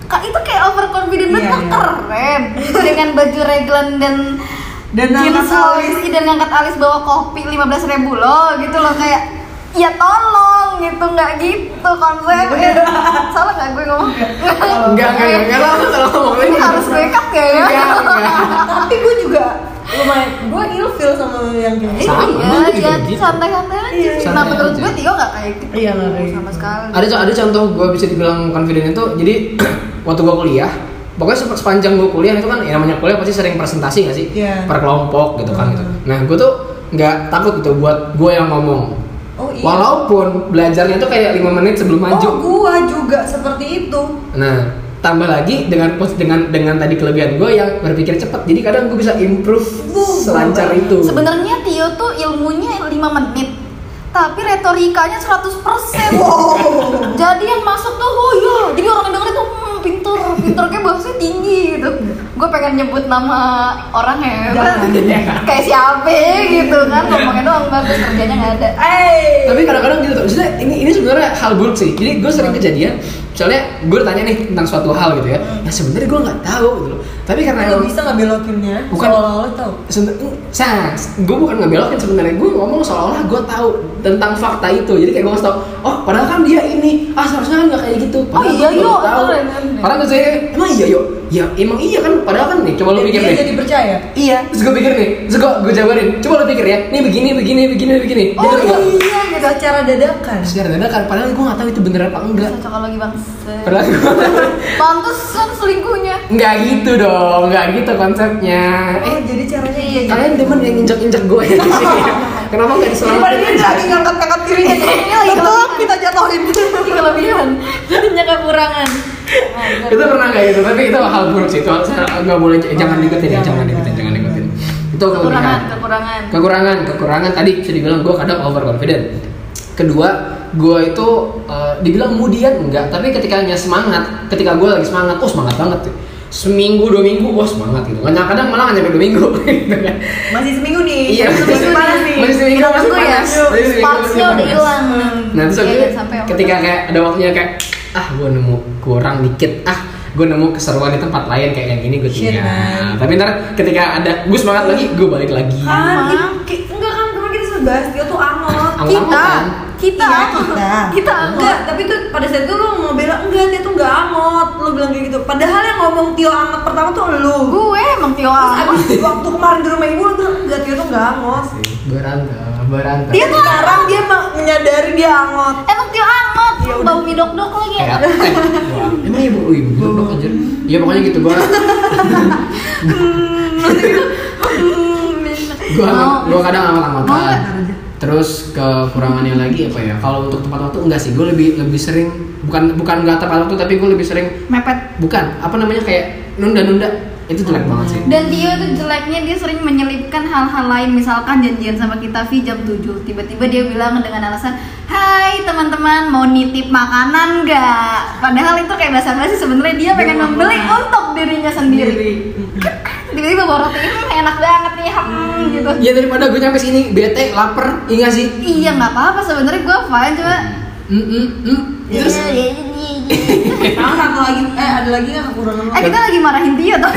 [SPEAKER 2] Kak, itu kayak overconfident banget,
[SPEAKER 3] Iya,
[SPEAKER 2] Kak,
[SPEAKER 3] iya.
[SPEAKER 2] keren Dengan baju reglan dan
[SPEAKER 3] Dan
[SPEAKER 2] jeans
[SPEAKER 3] ngangkat alis.
[SPEAKER 2] alis, dan ngangkat alis bawa kopi 15 ribu loh, gitu loh kayak Ya tolong gitu, nggak gitu
[SPEAKER 3] Iya.
[SPEAKER 2] konsepnya Salah nggak gue ngomong?
[SPEAKER 1] Enggak, enggak, enggak, enggak lah, kalau ngomong
[SPEAKER 2] Ini
[SPEAKER 1] ini.
[SPEAKER 2] harus make up ya ya?
[SPEAKER 1] Enggak, enggak.
[SPEAKER 3] Tapi gue juga lumayan, gue ilfil sama yang kayak gitu.
[SPEAKER 1] Sama,
[SPEAKER 2] iya,
[SPEAKER 1] gua juga
[SPEAKER 2] iya,
[SPEAKER 1] gitu.
[SPEAKER 2] santai-santai aja.
[SPEAKER 3] Iya,
[SPEAKER 2] sih. nah,
[SPEAKER 1] santai
[SPEAKER 2] menurut
[SPEAKER 1] aja.
[SPEAKER 2] gue Tio gak kayak gitu.
[SPEAKER 3] Iya, nggak kayak
[SPEAKER 2] Sama
[SPEAKER 3] gitu.
[SPEAKER 2] sekali.
[SPEAKER 1] Ada co- ada contoh gue bisa dibilang confident itu jadi waktu gue kuliah pokoknya sepa- sepanjang gue kuliah itu kan ya namanya kuliah pasti sering presentasi gak sih
[SPEAKER 3] Iya.
[SPEAKER 1] per kelompok gitu kan gitu.
[SPEAKER 3] Hmm.
[SPEAKER 1] Nah gue tuh nggak takut gitu buat gue yang ngomong
[SPEAKER 3] Oh iya.
[SPEAKER 1] Walaupun belajarnya tuh kayak lima menit sebelum maju.
[SPEAKER 3] Oh, gua juga seperti itu.
[SPEAKER 1] Nah, tambah lagi dengan pos dengan dengan tadi kelebihan gue yang berpikir cepat. Jadi kadang gue bisa improve
[SPEAKER 3] Wuh,
[SPEAKER 1] selancar
[SPEAKER 3] bener.
[SPEAKER 1] itu.
[SPEAKER 2] Sebenarnya Tio tuh ilmunya 5 menit, tapi retorikanya 100%.
[SPEAKER 3] Wow.
[SPEAKER 2] Jadi yang masuk tuh, oh iya, jadi orang yang dengerin tuh hmm, pinter, pinter kayak bahasanya tinggi gitu. Gue pengen nyebut nama orang ya,
[SPEAKER 3] Jangan.
[SPEAKER 2] kayak siapa gitu kan, ngomongnya doang bagus kerjanya nggak ada.
[SPEAKER 3] Eh.
[SPEAKER 1] Tapi kadang-kadang gitu tuh. Maksudnya ini ini sebenarnya hal buruk sih. Jadi gue sering kejadian. Misalnya gue tanya nih tentang suatu hal gitu ya. Ya sebenarnya gue nggak tahu gitu loh. Tapi karena
[SPEAKER 3] Lu
[SPEAKER 1] emang-
[SPEAKER 3] bisa nggak belokinnya?
[SPEAKER 1] Bukan.
[SPEAKER 3] Seolah-olah tau.
[SPEAKER 1] sebenarnya gue bukan ngebelokin sebenarnya gue ngomong seolah-olah gue tahu tentang fakta itu jadi kayak gue ngasih tau oh padahal kan dia ini ah seharusnya kan nggak kayak gitu padahal
[SPEAKER 2] iya,
[SPEAKER 1] gua baru
[SPEAKER 2] yuk.
[SPEAKER 1] tahu
[SPEAKER 2] Keren, keren.
[SPEAKER 1] padahal gue saya emang iya yuk ya emang iya kan padahal kan nih coba lu
[SPEAKER 3] Jadi
[SPEAKER 1] pikir
[SPEAKER 3] dia
[SPEAKER 1] deh
[SPEAKER 3] jadi percaya.
[SPEAKER 1] iya terus gue pikir nih terus gue gue jabarin coba lu pikir ya nih begini begini begini begini Dia
[SPEAKER 2] Oh,
[SPEAKER 1] bilang,
[SPEAKER 2] iya.
[SPEAKER 3] gitu. Secara dadakan.
[SPEAKER 1] terus dia dadakan kan, padahal gue nggak tahu itu bener apa enggak
[SPEAKER 2] Cocok lagi bang.
[SPEAKER 1] padahal gue
[SPEAKER 2] Pantesan selingkuhnya.
[SPEAKER 1] nggak gitu dong nggak gitu konsepnya eh
[SPEAKER 3] Oh, jadi caranya
[SPEAKER 2] Iya, iya.
[SPEAKER 1] kalian demen yang injak-injak gue ya di sini kenapa nggak
[SPEAKER 3] Daripada dia
[SPEAKER 1] diselamatin
[SPEAKER 3] lagi ngangkat-ngangkat kirinya
[SPEAKER 2] Ini lagi
[SPEAKER 3] Betul,
[SPEAKER 2] ngangkat.
[SPEAKER 3] kita jatuhin
[SPEAKER 2] Ini kelebihan, punya kekurangan.
[SPEAKER 1] itu pernah nggak itu tapi itu hal buruk sih itu hal- eh, nggak boleh jangan diikutin ya jangan
[SPEAKER 3] Jangan,
[SPEAKER 1] diikutin jangan
[SPEAKER 3] jangan.
[SPEAKER 1] diikutin itu
[SPEAKER 2] Kekurangan,
[SPEAKER 1] kekurangan
[SPEAKER 2] kekurangan.
[SPEAKER 1] kekurangan kekurangan tadi bisa dibilang gue kadang overconfident kedua gue itu eh, dibilang kemudian enggak tapi ketikanya semangat ketika gue lagi semangat oh semangat banget tuh seminggu dua minggu oh semangat gitu kadang kadang malah nggak nyampe dua minggu gitu kan.
[SPEAKER 3] Masih seminggu nih
[SPEAKER 1] Iya,
[SPEAKER 3] Masih
[SPEAKER 1] masih
[SPEAKER 3] seminggu panas nih
[SPEAKER 1] Masih seminggu
[SPEAKER 2] Maksud
[SPEAKER 1] masih
[SPEAKER 2] gue ya,
[SPEAKER 1] panas Masih seminggu masih
[SPEAKER 2] sparksnya udah
[SPEAKER 1] panas.
[SPEAKER 2] hilang.
[SPEAKER 1] Nah terus
[SPEAKER 2] Iya,
[SPEAKER 1] aku
[SPEAKER 2] jangan sampai over.
[SPEAKER 1] ketika kayak ada waktunya kayak ah gue nemu kurang dikit ah gue nemu keseruan di tempat lain kayak yang ini gue
[SPEAKER 3] Shit,
[SPEAKER 1] tinggal.
[SPEAKER 3] man.
[SPEAKER 1] Tapi ntar ketika ada gue semangat lagi gue balik lagi.
[SPEAKER 3] Kan,
[SPEAKER 2] Emang?
[SPEAKER 3] ini- ki- enggak kan, kemarin kita sudah bahas Dia tuh anggot
[SPEAKER 1] Anggot.
[SPEAKER 2] kita,
[SPEAKER 1] Anggot.
[SPEAKER 2] kita,
[SPEAKER 3] Iya,
[SPEAKER 2] kita
[SPEAKER 3] enggak
[SPEAKER 2] enggak.
[SPEAKER 3] tapi tuh pada saat itu lo mau bela enggak dia tuh enggak angot lo bilang kayak gitu padahal yang ngomong Tio angot pertama tuh lo
[SPEAKER 2] Gue emang Tio
[SPEAKER 3] terus
[SPEAKER 2] Ang.
[SPEAKER 3] abis waktu kemarin di rumah ibu lo bilang enggak Tio tuh enggak
[SPEAKER 1] Gitu
[SPEAKER 3] angot
[SPEAKER 1] Berantem berantem.
[SPEAKER 2] Iya,
[SPEAKER 3] dia tuh sekarang dia ma- menyadari dia angot
[SPEAKER 2] Emang Tio Angot,
[SPEAKER 3] Ya udah.
[SPEAKER 2] bau midok dok lagi.
[SPEAKER 1] Ya, eh, wah, emang ibu oh, ibu gitu blok anjir. Ya pokoknya gitu gue gue
[SPEAKER 2] Mau-
[SPEAKER 1] gue kadang amat
[SPEAKER 2] Hmm. Mau
[SPEAKER 1] amatan.
[SPEAKER 2] nggak?
[SPEAKER 1] Terus kekurangannya lagi apa ya? Kalau untuk tempat waktu enggak sih gue lebih lebih sering bukan bukan nggak tepat waktu tapi gue lebih sering
[SPEAKER 2] Mepet.
[SPEAKER 1] bukan apa namanya kayak nunda-nunda itu jelek banget sih.
[SPEAKER 2] Dan Tio tuh jeleknya dia sering menyelipkan hal-hal lain Misalkan janjian sama kita Vi jam 7 Tiba-tiba dia bilang dengan alasan Hai teman-teman mau nitip makanan gak? Padahal itu kayak bahasa basi sebenarnya dia pengen membeli untuk dirinya sendiri Tiba-tiba bawa roti "Hmm, enak banget nih hmm, gitu
[SPEAKER 1] Ya daripada gue nyampe sini bete, lapar, iya nggak sih?
[SPEAKER 2] Iya nggak apa-apa sebenarnya gue fine cuma
[SPEAKER 1] Mm -mm, mm. Terus
[SPEAKER 2] Iya, iya, iya, iya.
[SPEAKER 3] Sekarang satu lagi, eh ada lagi nggak kekurangan lo?
[SPEAKER 2] Eh kita lagi marahin Tio tuh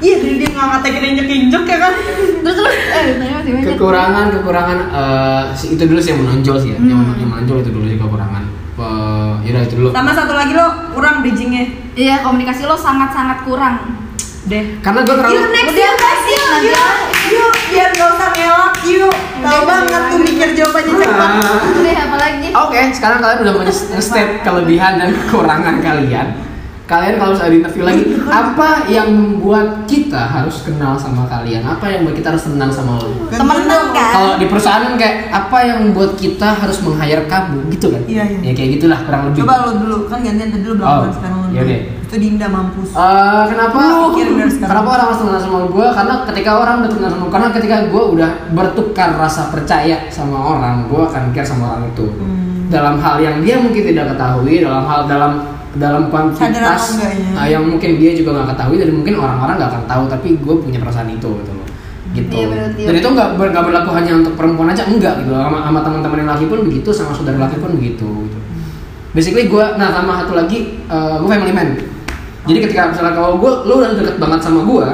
[SPEAKER 3] Iya, jadi dia nggak ngatain kita injek injek ya kan?
[SPEAKER 2] Terus terus eh tanya masih banyak
[SPEAKER 1] kekurangan kekurangan eh, si- itu dulu sih yang menonjol sih ya, yang,
[SPEAKER 2] Hmm.
[SPEAKER 1] men- yang menonjol itu dulu sih kekurangan. Eh, yaudah itu dulu.
[SPEAKER 3] Sama satu lagi lo kurang bridgingnya
[SPEAKER 2] Iya komunikasi lo sangat-sangat kurang
[SPEAKER 3] deh.
[SPEAKER 1] Karena gue terlalu
[SPEAKER 2] Iya, next
[SPEAKER 3] Udah
[SPEAKER 2] yuk, next yuk,
[SPEAKER 3] yuk,
[SPEAKER 2] nanti
[SPEAKER 3] yuk, yuk, biar gak usah ngelak yuk. Tahu
[SPEAKER 2] Udah,
[SPEAKER 3] banget
[SPEAKER 2] udah.
[SPEAKER 3] tuh mikir jawabannya cepat.
[SPEAKER 1] Ah.
[SPEAKER 2] Deh, apalagi?
[SPEAKER 1] Oke, sekarang kalian udah men-state kelebihan dan kekurangan kalian. Kalian kalau misalnya di interview lagi, apa yang membuat kita harus kenal sama kalian? Apa yang membuat kita harus tenang sama lo?
[SPEAKER 2] Temenan kan?
[SPEAKER 1] kalau di perusahaan kan kayak apa yang membuat kita harus meng-hire kamu gitu kan
[SPEAKER 3] Iya, iya.
[SPEAKER 1] ya kayak gitulah kurang lebih
[SPEAKER 3] Coba lo dulu, kan gantian tadi lo bilang
[SPEAKER 1] Oh,
[SPEAKER 3] kan sekarang lo
[SPEAKER 1] iya
[SPEAKER 3] dulu.
[SPEAKER 1] deh.
[SPEAKER 3] Itu Dinda mampus.
[SPEAKER 1] Eh, kenapa
[SPEAKER 3] Lu pikirin dari sekarang.
[SPEAKER 1] kenapa orang harus kenal sama gue karena ketika orang udah kenal sama karena ketika gue udah bertukar rasa percaya sama orang gue akan care sama orang itu
[SPEAKER 3] Hmm.
[SPEAKER 1] dalam hal yang dia mungkin tidak ketahui dalam hal dalam dalam
[SPEAKER 3] Sadar atau
[SPEAKER 1] kuantitas
[SPEAKER 3] enggaknya.
[SPEAKER 1] eh, yang mungkin dia juga nggak ketahui dan mungkin orang-orang nggak akan tahu tapi gue punya perasaan itu gitu loh
[SPEAKER 3] Hmm.
[SPEAKER 1] gitu
[SPEAKER 2] Iya, bener, iya.
[SPEAKER 1] dan itu nggak ber- nggak berlaku hanya untuk perempuan aja enggak gitu loh. sama, sama teman-teman yang laki pun begitu sama saudara laki pun begitu gitu. basically gue nah sama satu lagi eh, gue family man
[SPEAKER 2] Oh.
[SPEAKER 1] jadi ketika misalnya kalau gue lu udah deket banget sama gue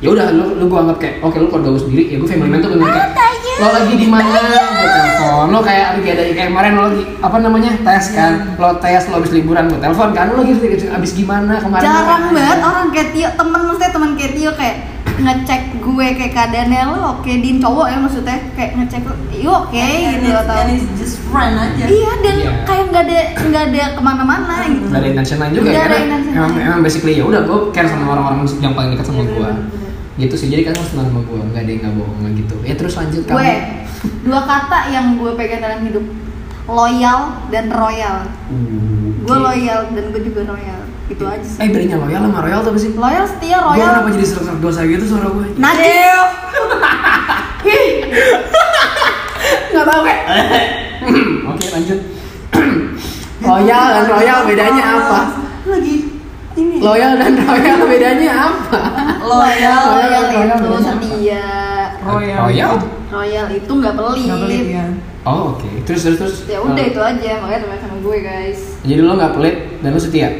[SPEAKER 1] ya udah lu lu gue anggap kayak oke lu keluarga gue sendiri ya gue family man tuh bener kayak
[SPEAKER 2] Iya.
[SPEAKER 1] lo lagi di mana gue telepon lo kayak kayak dari kayak kemarin lo lagi apa namanya tes kan
[SPEAKER 2] Hmm.
[SPEAKER 1] lo tes lo habis liburan gue telepon kan lo lagi habis gimana kemarin lo-
[SPEAKER 2] Jarang banget orang kayak Tio, temen maksudnya temen kayak Tio kayak ngecek gue kayak keadaannya lo oke din cowok ya maksudnya kayak ngecek lo "You oke
[SPEAKER 3] Iya,
[SPEAKER 2] gitu atau
[SPEAKER 3] And it's just friend aja.
[SPEAKER 2] iya dan
[SPEAKER 1] Iya.
[SPEAKER 2] kayak nggak ada nggak ada kemana-mana gitu
[SPEAKER 1] Gak ada intention lain juga
[SPEAKER 2] Nggak
[SPEAKER 1] ya
[SPEAKER 2] ada
[SPEAKER 1] karena
[SPEAKER 2] intention
[SPEAKER 1] emang,
[SPEAKER 2] lain.
[SPEAKER 1] emang basically ya udah gue care sama orang-orang yang paling dekat sama gue gitu sih jadi kamu senang sama gue nggak ada yang nggak bohong lah gitu ya terus lanjut kamu
[SPEAKER 2] gue dua kata yang gue pegang dalam hidup loyal dan royal
[SPEAKER 1] Uh, oke.
[SPEAKER 2] gue loyal dan gue juga royal itu Gitu aja sih
[SPEAKER 1] eh bedanya loyal sama royal tuh apa sih
[SPEAKER 2] loyal setia
[SPEAKER 1] gue
[SPEAKER 2] royal
[SPEAKER 1] kenapa jadi serak-serak dosa gitu suara gue
[SPEAKER 2] najis
[SPEAKER 1] nggak tahu kayak oke lanjut loyal dan royal bedanya apa
[SPEAKER 3] lagi ini
[SPEAKER 1] loyal dan royal bedanya apa
[SPEAKER 3] loyal
[SPEAKER 2] royal
[SPEAKER 1] royal bedanya
[SPEAKER 2] itu
[SPEAKER 1] apa?
[SPEAKER 2] setia
[SPEAKER 3] Royal.
[SPEAKER 1] royal
[SPEAKER 2] royal itu nggak
[SPEAKER 3] nggak pelit
[SPEAKER 2] pelit
[SPEAKER 3] ya
[SPEAKER 1] oh oke terus terus terus
[SPEAKER 2] ya udah
[SPEAKER 1] Eh,
[SPEAKER 2] itu aja makanya teman sama gue guys
[SPEAKER 1] jadi lo nggak pelit dan lo setia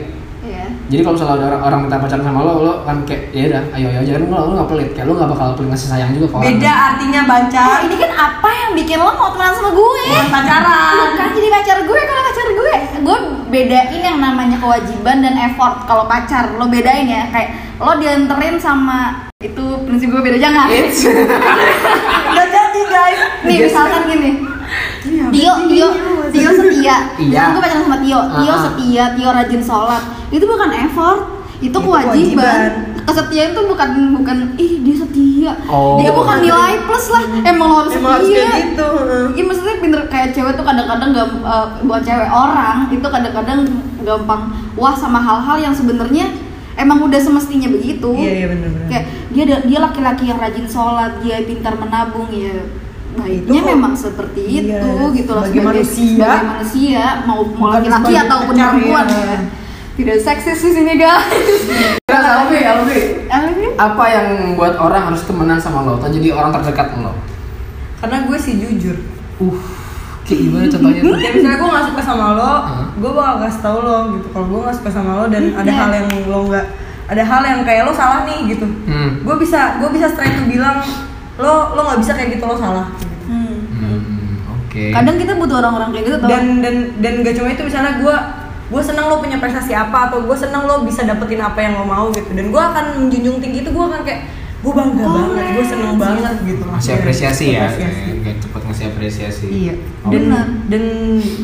[SPEAKER 2] ya
[SPEAKER 1] jadi kalau misalnya ada orang, orang minta pacaran sama lo lo kan kayak ya udah ayo ayo aja kan lo lo nggak pelit kayak lo nggak bakal pelit ngasih sayang juga ke orang
[SPEAKER 3] beda artinya
[SPEAKER 2] Oh,
[SPEAKER 3] bancar
[SPEAKER 2] ini kan apa yang bikin lo mau temenan sama gue?
[SPEAKER 3] Bukan pacaran.
[SPEAKER 2] Bukan jadi pacar gue kalau pacar gue. Gue bedain yang namanya kewajiban dan effort kalau pacar. Lo bedain ya kayak lo dianterin sama itu prinsip gue beda jangan.
[SPEAKER 1] Eits.
[SPEAKER 3] nggak jadi guys
[SPEAKER 2] Nih misalkan gini.
[SPEAKER 3] Iya,
[SPEAKER 2] Tio, Tio, Tio setia.
[SPEAKER 1] Iya.
[SPEAKER 2] Misalkan Gue pacaran sama Tio. Tio
[SPEAKER 1] Ah.
[SPEAKER 2] setia, Tio rajin sholat. Itu bukan effort, itu
[SPEAKER 3] Itu
[SPEAKER 2] kewajiban.
[SPEAKER 3] kewajiban.
[SPEAKER 2] Kesetiaan tuh bukan bukan ih dia setia.
[SPEAKER 1] Oh.
[SPEAKER 2] Dia bukan nilai plus lah. Emang lo harus
[SPEAKER 3] emang harus
[SPEAKER 2] setia.
[SPEAKER 3] kayak gitu heeh.
[SPEAKER 2] Iya maksudnya pinter kayak cewek tuh kadang-kadang gak buat cewek orang itu kadang-kadang gampang wah sama hal-hal yang sebenarnya emang udah semestinya begitu.
[SPEAKER 3] iya iya benar-benar
[SPEAKER 2] Kayak dia ada- dia laki-laki yang rajin sholat, dia pintar menabung ya baiknya
[SPEAKER 3] Itu-
[SPEAKER 2] memang seperti
[SPEAKER 3] Iya,
[SPEAKER 2] itu gitu loh
[SPEAKER 3] sebagai manusia.
[SPEAKER 2] sebagai manusia mau mau
[SPEAKER 3] Bukan
[SPEAKER 2] laki-laki
[SPEAKER 3] sebagai
[SPEAKER 2] ataupun
[SPEAKER 3] pacar,
[SPEAKER 2] perempuan
[SPEAKER 3] iya.
[SPEAKER 2] ya. Tidak seksis di sini guys. ya.
[SPEAKER 1] Terus Alfi,
[SPEAKER 3] ya,
[SPEAKER 1] Alfi.
[SPEAKER 2] Alvin,
[SPEAKER 1] apa yang membuat orang harus temenan sama lo atau jadi orang terdekat lo
[SPEAKER 3] karena gue sih jujur
[SPEAKER 1] uh kayak gimana contohnya tuh
[SPEAKER 3] ya misalnya gue gak suka sama lo
[SPEAKER 1] Hah? Hmm, ya.
[SPEAKER 3] gue bakal kasih tau lo gitu kalau gue gak suka sama lo dan ada
[SPEAKER 2] Iya.
[SPEAKER 3] hal yang lo nggak ada hal yang kayak lo salah nih gitu
[SPEAKER 1] Hmm.
[SPEAKER 3] gue bisa gue bisa straight to bilang lo lo nggak bisa kayak gitu lo salah
[SPEAKER 2] Hmm.
[SPEAKER 1] Hmm, oke
[SPEAKER 2] kadang kita butuh orang-orang kayak gitu tau.
[SPEAKER 3] dan dan dan gak cuma itu misalnya gue gue seneng lo punya prestasi apa atau gue seneng lo bisa dapetin apa yang lo mau gitu dan gue akan menjunjung tinggi itu gue akan kayak gue bangga
[SPEAKER 2] Oh,
[SPEAKER 3] banget gue seneng banget gitu
[SPEAKER 1] ngasih
[SPEAKER 3] maksudnya.
[SPEAKER 1] apresiasi ya
[SPEAKER 3] Apresiasi.
[SPEAKER 1] kayak cepet ngasih apresiasi
[SPEAKER 3] iya
[SPEAKER 1] Oh.
[SPEAKER 3] dan
[SPEAKER 2] Benar.
[SPEAKER 3] dan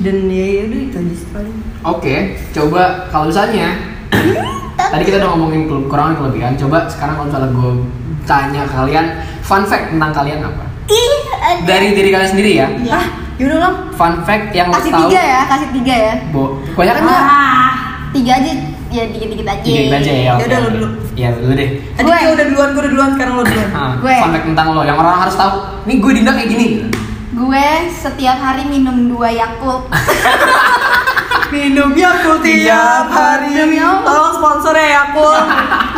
[SPEAKER 3] dan ya ya udah itu aja sih paling
[SPEAKER 1] oke coba kalau misalnya tadi kita udah ngomongin ke- kekurangan kelebihan coba sekarang kalau misalnya gue tanya kalian fun fact tentang kalian apa
[SPEAKER 2] Ih, ada.
[SPEAKER 1] dari diri kalian sendiri ya
[SPEAKER 3] ah yaudah lah
[SPEAKER 1] fun fact yang lo
[SPEAKER 2] kasih
[SPEAKER 1] tahu
[SPEAKER 2] tiga ya, kasih tiga ya.
[SPEAKER 1] bo banyak kan nggak
[SPEAKER 2] Ah, tiga aja ya dikit-dikit aja.
[SPEAKER 1] tiga aja ya oke,
[SPEAKER 3] Yaudah, lo
[SPEAKER 1] oke.
[SPEAKER 3] dulu.
[SPEAKER 1] Iya, lo dulu deh
[SPEAKER 3] Tadi
[SPEAKER 2] Gue.
[SPEAKER 3] gue udah duluan, gue udah duluan, sekarang lo duluan
[SPEAKER 1] Nah,
[SPEAKER 2] Gue.
[SPEAKER 1] fun fact tentang lo yang orang harus tahu nih gue dinda kayak gini
[SPEAKER 2] Gue setiap hari minum dua Yakult.
[SPEAKER 3] Minum Yakult tiap hari
[SPEAKER 2] Demi Allah.
[SPEAKER 3] Tolong sponsornya Yakult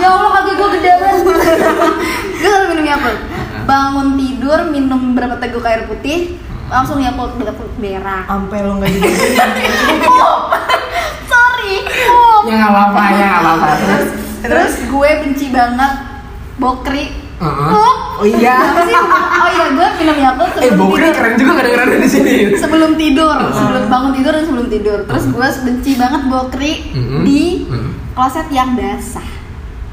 [SPEAKER 2] ya Allah kaki gue gede banget. gue selalu minum Yakult. Bangun tidur minum berapa teguk air putih, langsung Yakult Yakult
[SPEAKER 1] Oh.
[SPEAKER 2] berak.
[SPEAKER 3] Ampe lo gak jadi
[SPEAKER 2] Sorry. Oh.
[SPEAKER 1] ya nggak apa-apa ya nggak apa-apa terus
[SPEAKER 2] Terus gue benci banget bokri.
[SPEAKER 1] Heeh.
[SPEAKER 2] Oh.
[SPEAKER 1] Oh iya.
[SPEAKER 2] Apa sih? Oh iya, gue minum Yakult
[SPEAKER 1] eh
[SPEAKER 2] sebelum
[SPEAKER 1] bokri
[SPEAKER 2] tidur.
[SPEAKER 1] keren juga nggak dengeran di sini
[SPEAKER 2] sebelum tidur, sebelum bangun tidur dan sebelum tidur. Terus gue benci banget bokri
[SPEAKER 1] Mhm.
[SPEAKER 2] di
[SPEAKER 1] Mhm.
[SPEAKER 2] kloset yang basah.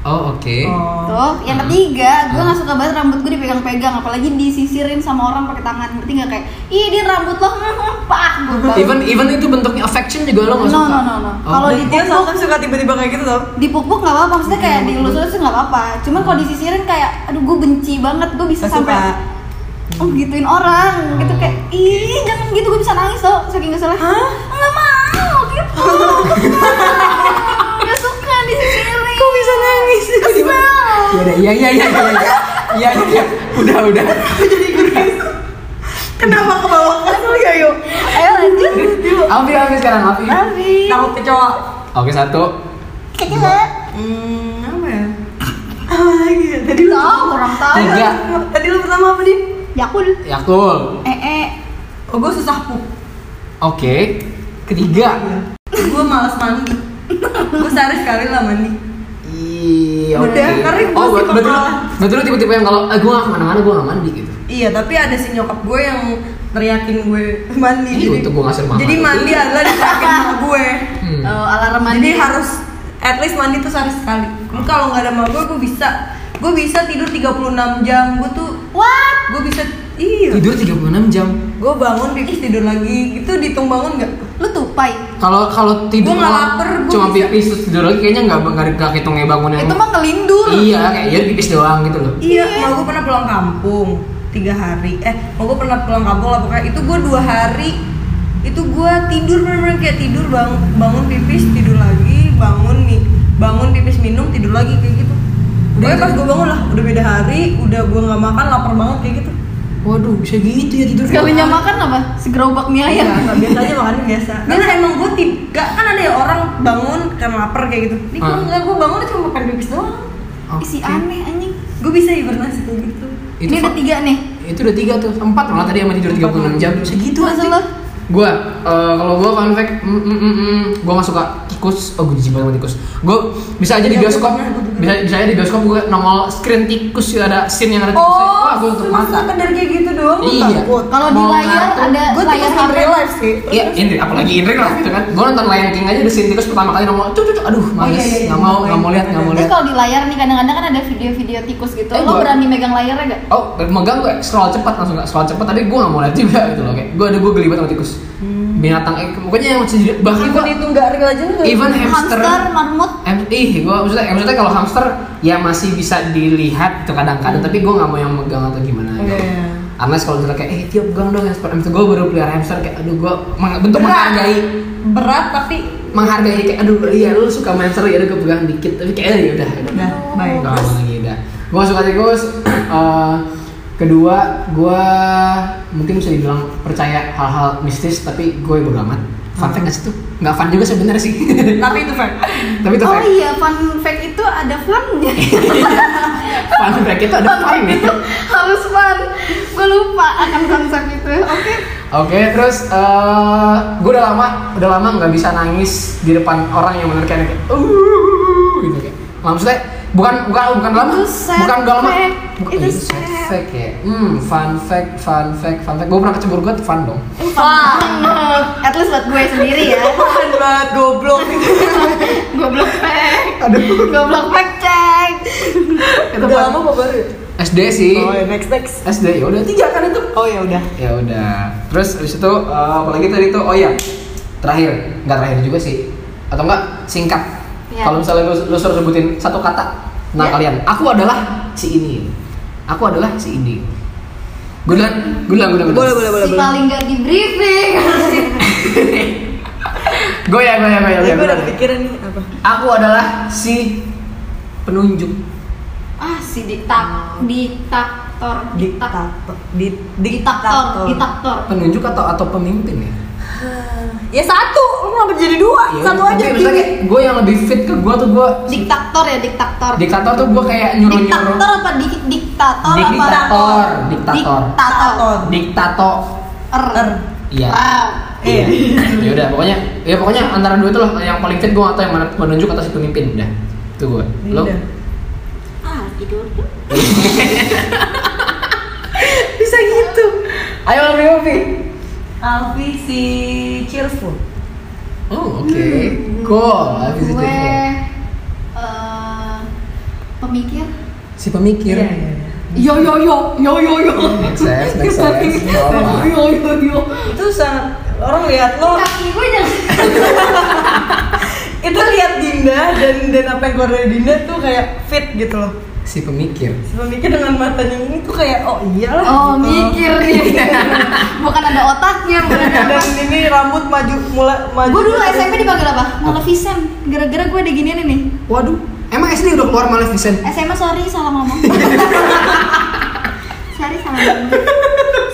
[SPEAKER 1] oh oke
[SPEAKER 3] Oh
[SPEAKER 2] Tuh, yang ketiga, gue nggak suka banget rambut gue dipegang-pegang, apalagi disisirin sama orang pakai tangan. Ngerti nggak kayak, ih dia rambut lo, hmm, hmm, pak gue banget.
[SPEAKER 1] Even even itu bentuknya affection juga lo nggak
[SPEAKER 2] No,
[SPEAKER 1] suka?
[SPEAKER 2] no, no, no.
[SPEAKER 1] Oh.
[SPEAKER 2] Kalau di-
[SPEAKER 3] Dia Iya, soalnya suka tiba-tiba kayak gitu tau
[SPEAKER 2] Dipuk-puk nggak apa-apa, maksudnya kayak dilusuri sih nggak apa-apa. Cuman kalau disisirin kayak, aduh gue benci banget, gue bisa
[SPEAKER 3] Gak
[SPEAKER 2] sampai
[SPEAKER 3] suka
[SPEAKER 2] oh, gituin orang, gitu
[SPEAKER 1] Oh.
[SPEAKER 2] kayak, ih jangan gitu gue bisa nangis tau, saking keselnya. Hah? Nggak mau gitu. Nggak suka disisirin. Kok bisa nangis? Kesel.
[SPEAKER 1] Iya iya iya iya iya iya. iya iya iya. Udah udah.
[SPEAKER 3] Kenapa ke bawah kesel ya yuk
[SPEAKER 2] Ayo lanjut.
[SPEAKER 1] Alfi Alfi sekarang Alfi.
[SPEAKER 2] Abi.
[SPEAKER 3] Takut kecoa
[SPEAKER 1] Oke satu.
[SPEAKER 2] Kecil.
[SPEAKER 3] Hmm apa ya Apa lagi ya? Tadi lo
[SPEAKER 2] Tahu orang tahu.
[SPEAKER 1] Tiga.
[SPEAKER 3] Tadi lo pertama apa Din?
[SPEAKER 2] Yakul.
[SPEAKER 1] Ya, Yakul.
[SPEAKER 2] Eh eh.
[SPEAKER 3] Oh gue susah pup
[SPEAKER 1] Oke. Ketiga.
[SPEAKER 3] Gue males mandi Gue sehari sekali lah mandi
[SPEAKER 1] Iya. oke.
[SPEAKER 3] Udah, karena gua
[SPEAKER 1] Oh
[SPEAKER 3] sih
[SPEAKER 1] betul betul.
[SPEAKER 3] pemalas.
[SPEAKER 1] Betul tipe-tipe yang kalau eh, gue nggak kemana-mana gue nggak mandi gitu.
[SPEAKER 3] Iya, tapi ada si nyokap gue yang teriakin gue mandi.
[SPEAKER 1] Ih, untung gue ngasih mama.
[SPEAKER 3] Jadi mandi adalah diteriakin sama gue.
[SPEAKER 1] Hmm.
[SPEAKER 2] Eh, alarm
[SPEAKER 3] Jadi
[SPEAKER 2] mandi.
[SPEAKER 3] harus at least mandi tuh sehari sekali. Gue Kalau nggak ada sama gue, gue bisa gue bisa tidur 36 jam. Gue tuh
[SPEAKER 2] What?
[SPEAKER 3] gue bisa iya.
[SPEAKER 1] Tidur 36 jam.
[SPEAKER 3] Gue bangun pipis tidur lagi. Gitu dihitung bangun nggak?
[SPEAKER 2] Lu tupai.
[SPEAKER 1] Kalau kalau tidur
[SPEAKER 3] Gua nggak
[SPEAKER 1] doang,
[SPEAKER 3] lapar, gua
[SPEAKER 1] cuma
[SPEAKER 3] bisa.
[SPEAKER 1] pipis terus tidur lagi kayaknya nggak nggak nggak hitungnya bangun yang
[SPEAKER 2] Itu mah ngelindur.
[SPEAKER 1] Nah. iya kayak jadi pipis doang gitu loh.
[SPEAKER 3] Iya, mau gue pernah pulang kampung tiga hari. Eh, mau gue pernah pulang kampung lah pokoknya itu gue dua hari itu gue tidur bener-bener kayak tidur bang bangun pipis tidur lagi bangun nih bangun pipis minum tidur lagi kayak gitu. Udah pas gue bangun lah udah beda hari udah gue nggak makan lapar banget kayak gitu.
[SPEAKER 1] Waduh bisa gitu ya tidur.
[SPEAKER 2] Sekalinya makan apa? Segerobak mie ayam.
[SPEAKER 3] Nggak, nggak, biasa aja makan Iya, biasa. Karena emang gue tiga kan ada ya orang bangun karena lapar kayak gitu. Ini gue
[SPEAKER 1] Ah.
[SPEAKER 3] nggak gue bangun cuma makan pipis doang.
[SPEAKER 1] Oke.
[SPEAKER 2] Isi aneh anjing.
[SPEAKER 3] Gue bisa hibernasi kayak gitu.
[SPEAKER 1] Itu
[SPEAKER 2] Ini ada
[SPEAKER 1] fa-
[SPEAKER 2] tiga nih.
[SPEAKER 1] itu udah tiga tuh empat malah tadi sama tidur 36 jam segitu
[SPEAKER 2] Masa
[SPEAKER 1] aja
[SPEAKER 2] lu?
[SPEAKER 1] gua eh, kalau gua fun fact mm, mm, mm, mm, gua gak suka tikus oh gua jijik banget sama tikus gua bisa aja di
[SPEAKER 3] Iya, gua
[SPEAKER 1] bioskop
[SPEAKER 3] pernah, gua juga.
[SPEAKER 1] bisa bisa aja di bioskop gua nongol screen tikus gitu, ada scene yang ada tikusnya
[SPEAKER 3] Oh,
[SPEAKER 1] wah gua tutup
[SPEAKER 3] cuma
[SPEAKER 1] mata
[SPEAKER 3] sekedar kayak gitu doang lu
[SPEAKER 1] Iya.
[SPEAKER 3] takut.
[SPEAKER 2] Kalau di
[SPEAKER 1] Mau
[SPEAKER 2] layar
[SPEAKER 1] ngatur.
[SPEAKER 2] ada
[SPEAKER 3] Gue
[SPEAKER 2] layar
[SPEAKER 3] tikus in
[SPEAKER 2] HP.
[SPEAKER 3] real life sih.
[SPEAKER 1] Iya, Indri, apalagi Indri lah gitu kan. Gua nonton Lion King aja di scene tikus pertama kali nongol, cuk cuk cuk, aduh males,
[SPEAKER 3] iya, iya,
[SPEAKER 1] nggak mau
[SPEAKER 3] iya.
[SPEAKER 1] nggak mau lihat nggak mau
[SPEAKER 2] Terus
[SPEAKER 1] lihat.
[SPEAKER 2] kalau di layar nih kadang-kadang kan ada video-video tikus gitu.
[SPEAKER 1] Eh,
[SPEAKER 2] Lo
[SPEAKER 1] gua-
[SPEAKER 2] berani megang layarnya gak?
[SPEAKER 1] Oh, megang gue scroll cepat langsung nggak scroll cepat, tapi gue nggak mau lihat juga gitu loh. Kayak gue ada gue geli banget sama tikus. Binatang, eh, pokoknya yang masih bahkan gue
[SPEAKER 3] Takut Hmm. itu nggak real aja lu.
[SPEAKER 1] even hamster,
[SPEAKER 2] Hamster, marmut,
[SPEAKER 1] em, ih gue maksudnya eh, maksudnya kalau hamster ya masih bisa dilihat tuh kadang-kadang tapi gue nggak mau yang megang atau gimana gitu.
[SPEAKER 3] Hmm. Iya.
[SPEAKER 1] Unless kalau misalnya kayak eh tiap pegang dong hamster hamster gue baru pelihara hamster kayak aduh gue bentuk
[SPEAKER 3] Berat.
[SPEAKER 1] menghargai
[SPEAKER 3] berat tapi
[SPEAKER 1] menghargai kayak aduh iya lu suka main hamster ya udah gue pegang dikit tapi kayak eh, ya udah
[SPEAKER 2] Nah,
[SPEAKER 3] udah baik.
[SPEAKER 1] Gak mau lagi dah. Gue suka tikus. Eh, kedua, gue mungkin bisa dibilang percaya hal-hal mistis, tapi gue bodo amat. Fun fact aja tuh, nggak fun juga sebenarnya sih.
[SPEAKER 3] Hmm. Tapi itu fact.
[SPEAKER 1] tapi itu
[SPEAKER 2] Oh
[SPEAKER 1] fact.
[SPEAKER 2] iya, fun fact itu ada funnya.
[SPEAKER 1] Fun fact itu ada fun ya. Oke,
[SPEAKER 2] Harus fun. Gue lupa akan konsep itu. Oke. Eh,
[SPEAKER 1] terus eh gue udah lama, udah lama nggak bisa nangis di depan orang yang menarikan kayak, uh, gitu kayak. Nah, maksudnya bukan bukan bukan lama,
[SPEAKER 2] Itu sad
[SPEAKER 1] bukan gak lama.
[SPEAKER 2] fact.
[SPEAKER 1] Bukan,
[SPEAKER 2] Itu
[SPEAKER 1] itu sad
[SPEAKER 2] sad.
[SPEAKER 1] fact ya. Hmm, fun fact, fun fact, fun fact. Gue pernah kecebur gue fun dong.
[SPEAKER 2] Fun. At least buat gue sendiri ya.
[SPEAKER 3] Tahan banget goblok.
[SPEAKER 2] Goblok fact.
[SPEAKER 1] Aduh.
[SPEAKER 2] Goblok fact cek.
[SPEAKER 3] Udah lama apa baru? ya?
[SPEAKER 1] SD sih.
[SPEAKER 3] Oh, ya, next next.
[SPEAKER 1] SD ya udah tiga kan itu.
[SPEAKER 3] Oh ya udah.
[SPEAKER 1] Ya udah. Terus habis itu eh, apalagi tadi tuh oh ya. Terakhir, nggak terakhir juga sih. Atau enggak singkat.
[SPEAKER 2] Iya.
[SPEAKER 1] Kalau misalnya lu, lu suruh sebutin satu kata tentang
[SPEAKER 2] Iya.
[SPEAKER 1] kalian. Aku adalah si ini. Aku adalah si ini. Gulan, gulan, gulan, gulan.
[SPEAKER 3] Boleh, boleh, boleh.
[SPEAKER 2] Si paling gak di briefing.
[SPEAKER 1] Goya, goya, goya, goya.
[SPEAKER 3] Tapi gue udah
[SPEAKER 1] Gulan.
[SPEAKER 3] kepikiran nih apa?
[SPEAKER 1] Aku adalah si penunjuk.
[SPEAKER 2] Ah, si diktak diktator diktator
[SPEAKER 3] Diktator. Di-
[SPEAKER 2] diktator diktator.
[SPEAKER 1] Penunjuk atau atau pemimpin ya?
[SPEAKER 3] Ya satu, lu kenapa jadi dua?
[SPEAKER 1] Ya
[SPEAKER 3] satu
[SPEAKER 1] udah,
[SPEAKER 3] aja.
[SPEAKER 1] tapi misalnya kayak gue yang lebih fit ke gue tuh gue
[SPEAKER 2] Diktator ya diktator.
[SPEAKER 1] diktator tuh gue kayak nyuruh nyuruh
[SPEAKER 2] Diktator apa di, diktator apa?
[SPEAKER 1] Diktator, diktator.
[SPEAKER 2] Diktator.
[SPEAKER 1] diktato
[SPEAKER 2] Er.
[SPEAKER 1] iya
[SPEAKER 3] Ah.
[SPEAKER 2] Wow.
[SPEAKER 1] iya
[SPEAKER 3] Iya.
[SPEAKER 1] ya udah pokoknya ya pokoknya antara dua itu loh yang paling fit gue atau yang mana menunjuk atau si pemimpin udah itu gue lo
[SPEAKER 3] Udah.
[SPEAKER 2] Ah, tidur.
[SPEAKER 3] Bisa gitu.
[SPEAKER 1] ayo Alfi Alfi
[SPEAKER 3] Alfi si cheerful.
[SPEAKER 1] oh oke
[SPEAKER 3] Hmm.
[SPEAKER 1] cool
[SPEAKER 2] Nah,
[SPEAKER 1] Alfi si
[SPEAKER 2] Gue
[SPEAKER 1] Jeffo.
[SPEAKER 2] eh, pemikir.
[SPEAKER 1] si pemikir
[SPEAKER 3] Iya, iya, iya.
[SPEAKER 2] Yo yo yo yo yo yo.
[SPEAKER 1] Make sense, make sense. Normal.
[SPEAKER 2] Yo yo yo.
[SPEAKER 3] Itu sangat orang lihat
[SPEAKER 1] Iya.
[SPEAKER 3] lo
[SPEAKER 2] Kaki gue jangan.
[SPEAKER 3] itu lihat Dinda dan dan apa yang keluar dari Dinda tuh kayak fit gitu loh
[SPEAKER 1] si pemikir
[SPEAKER 3] Memikir dengan matanya ini tuh kayak oh iyalah
[SPEAKER 2] Oh,
[SPEAKER 3] gitu.
[SPEAKER 2] mikir nih. Bukan ada otaknya, bukan ada apa.
[SPEAKER 3] dan ini rambut maju mulai maju
[SPEAKER 2] Gue dulu SMP dipanggil apa? Maleficent. Gara-gara gue ada ginian ini.
[SPEAKER 1] waduh emang SD udah keluar Maleficent
[SPEAKER 2] SMA sorry salah ngomong. sorry salah ngomong.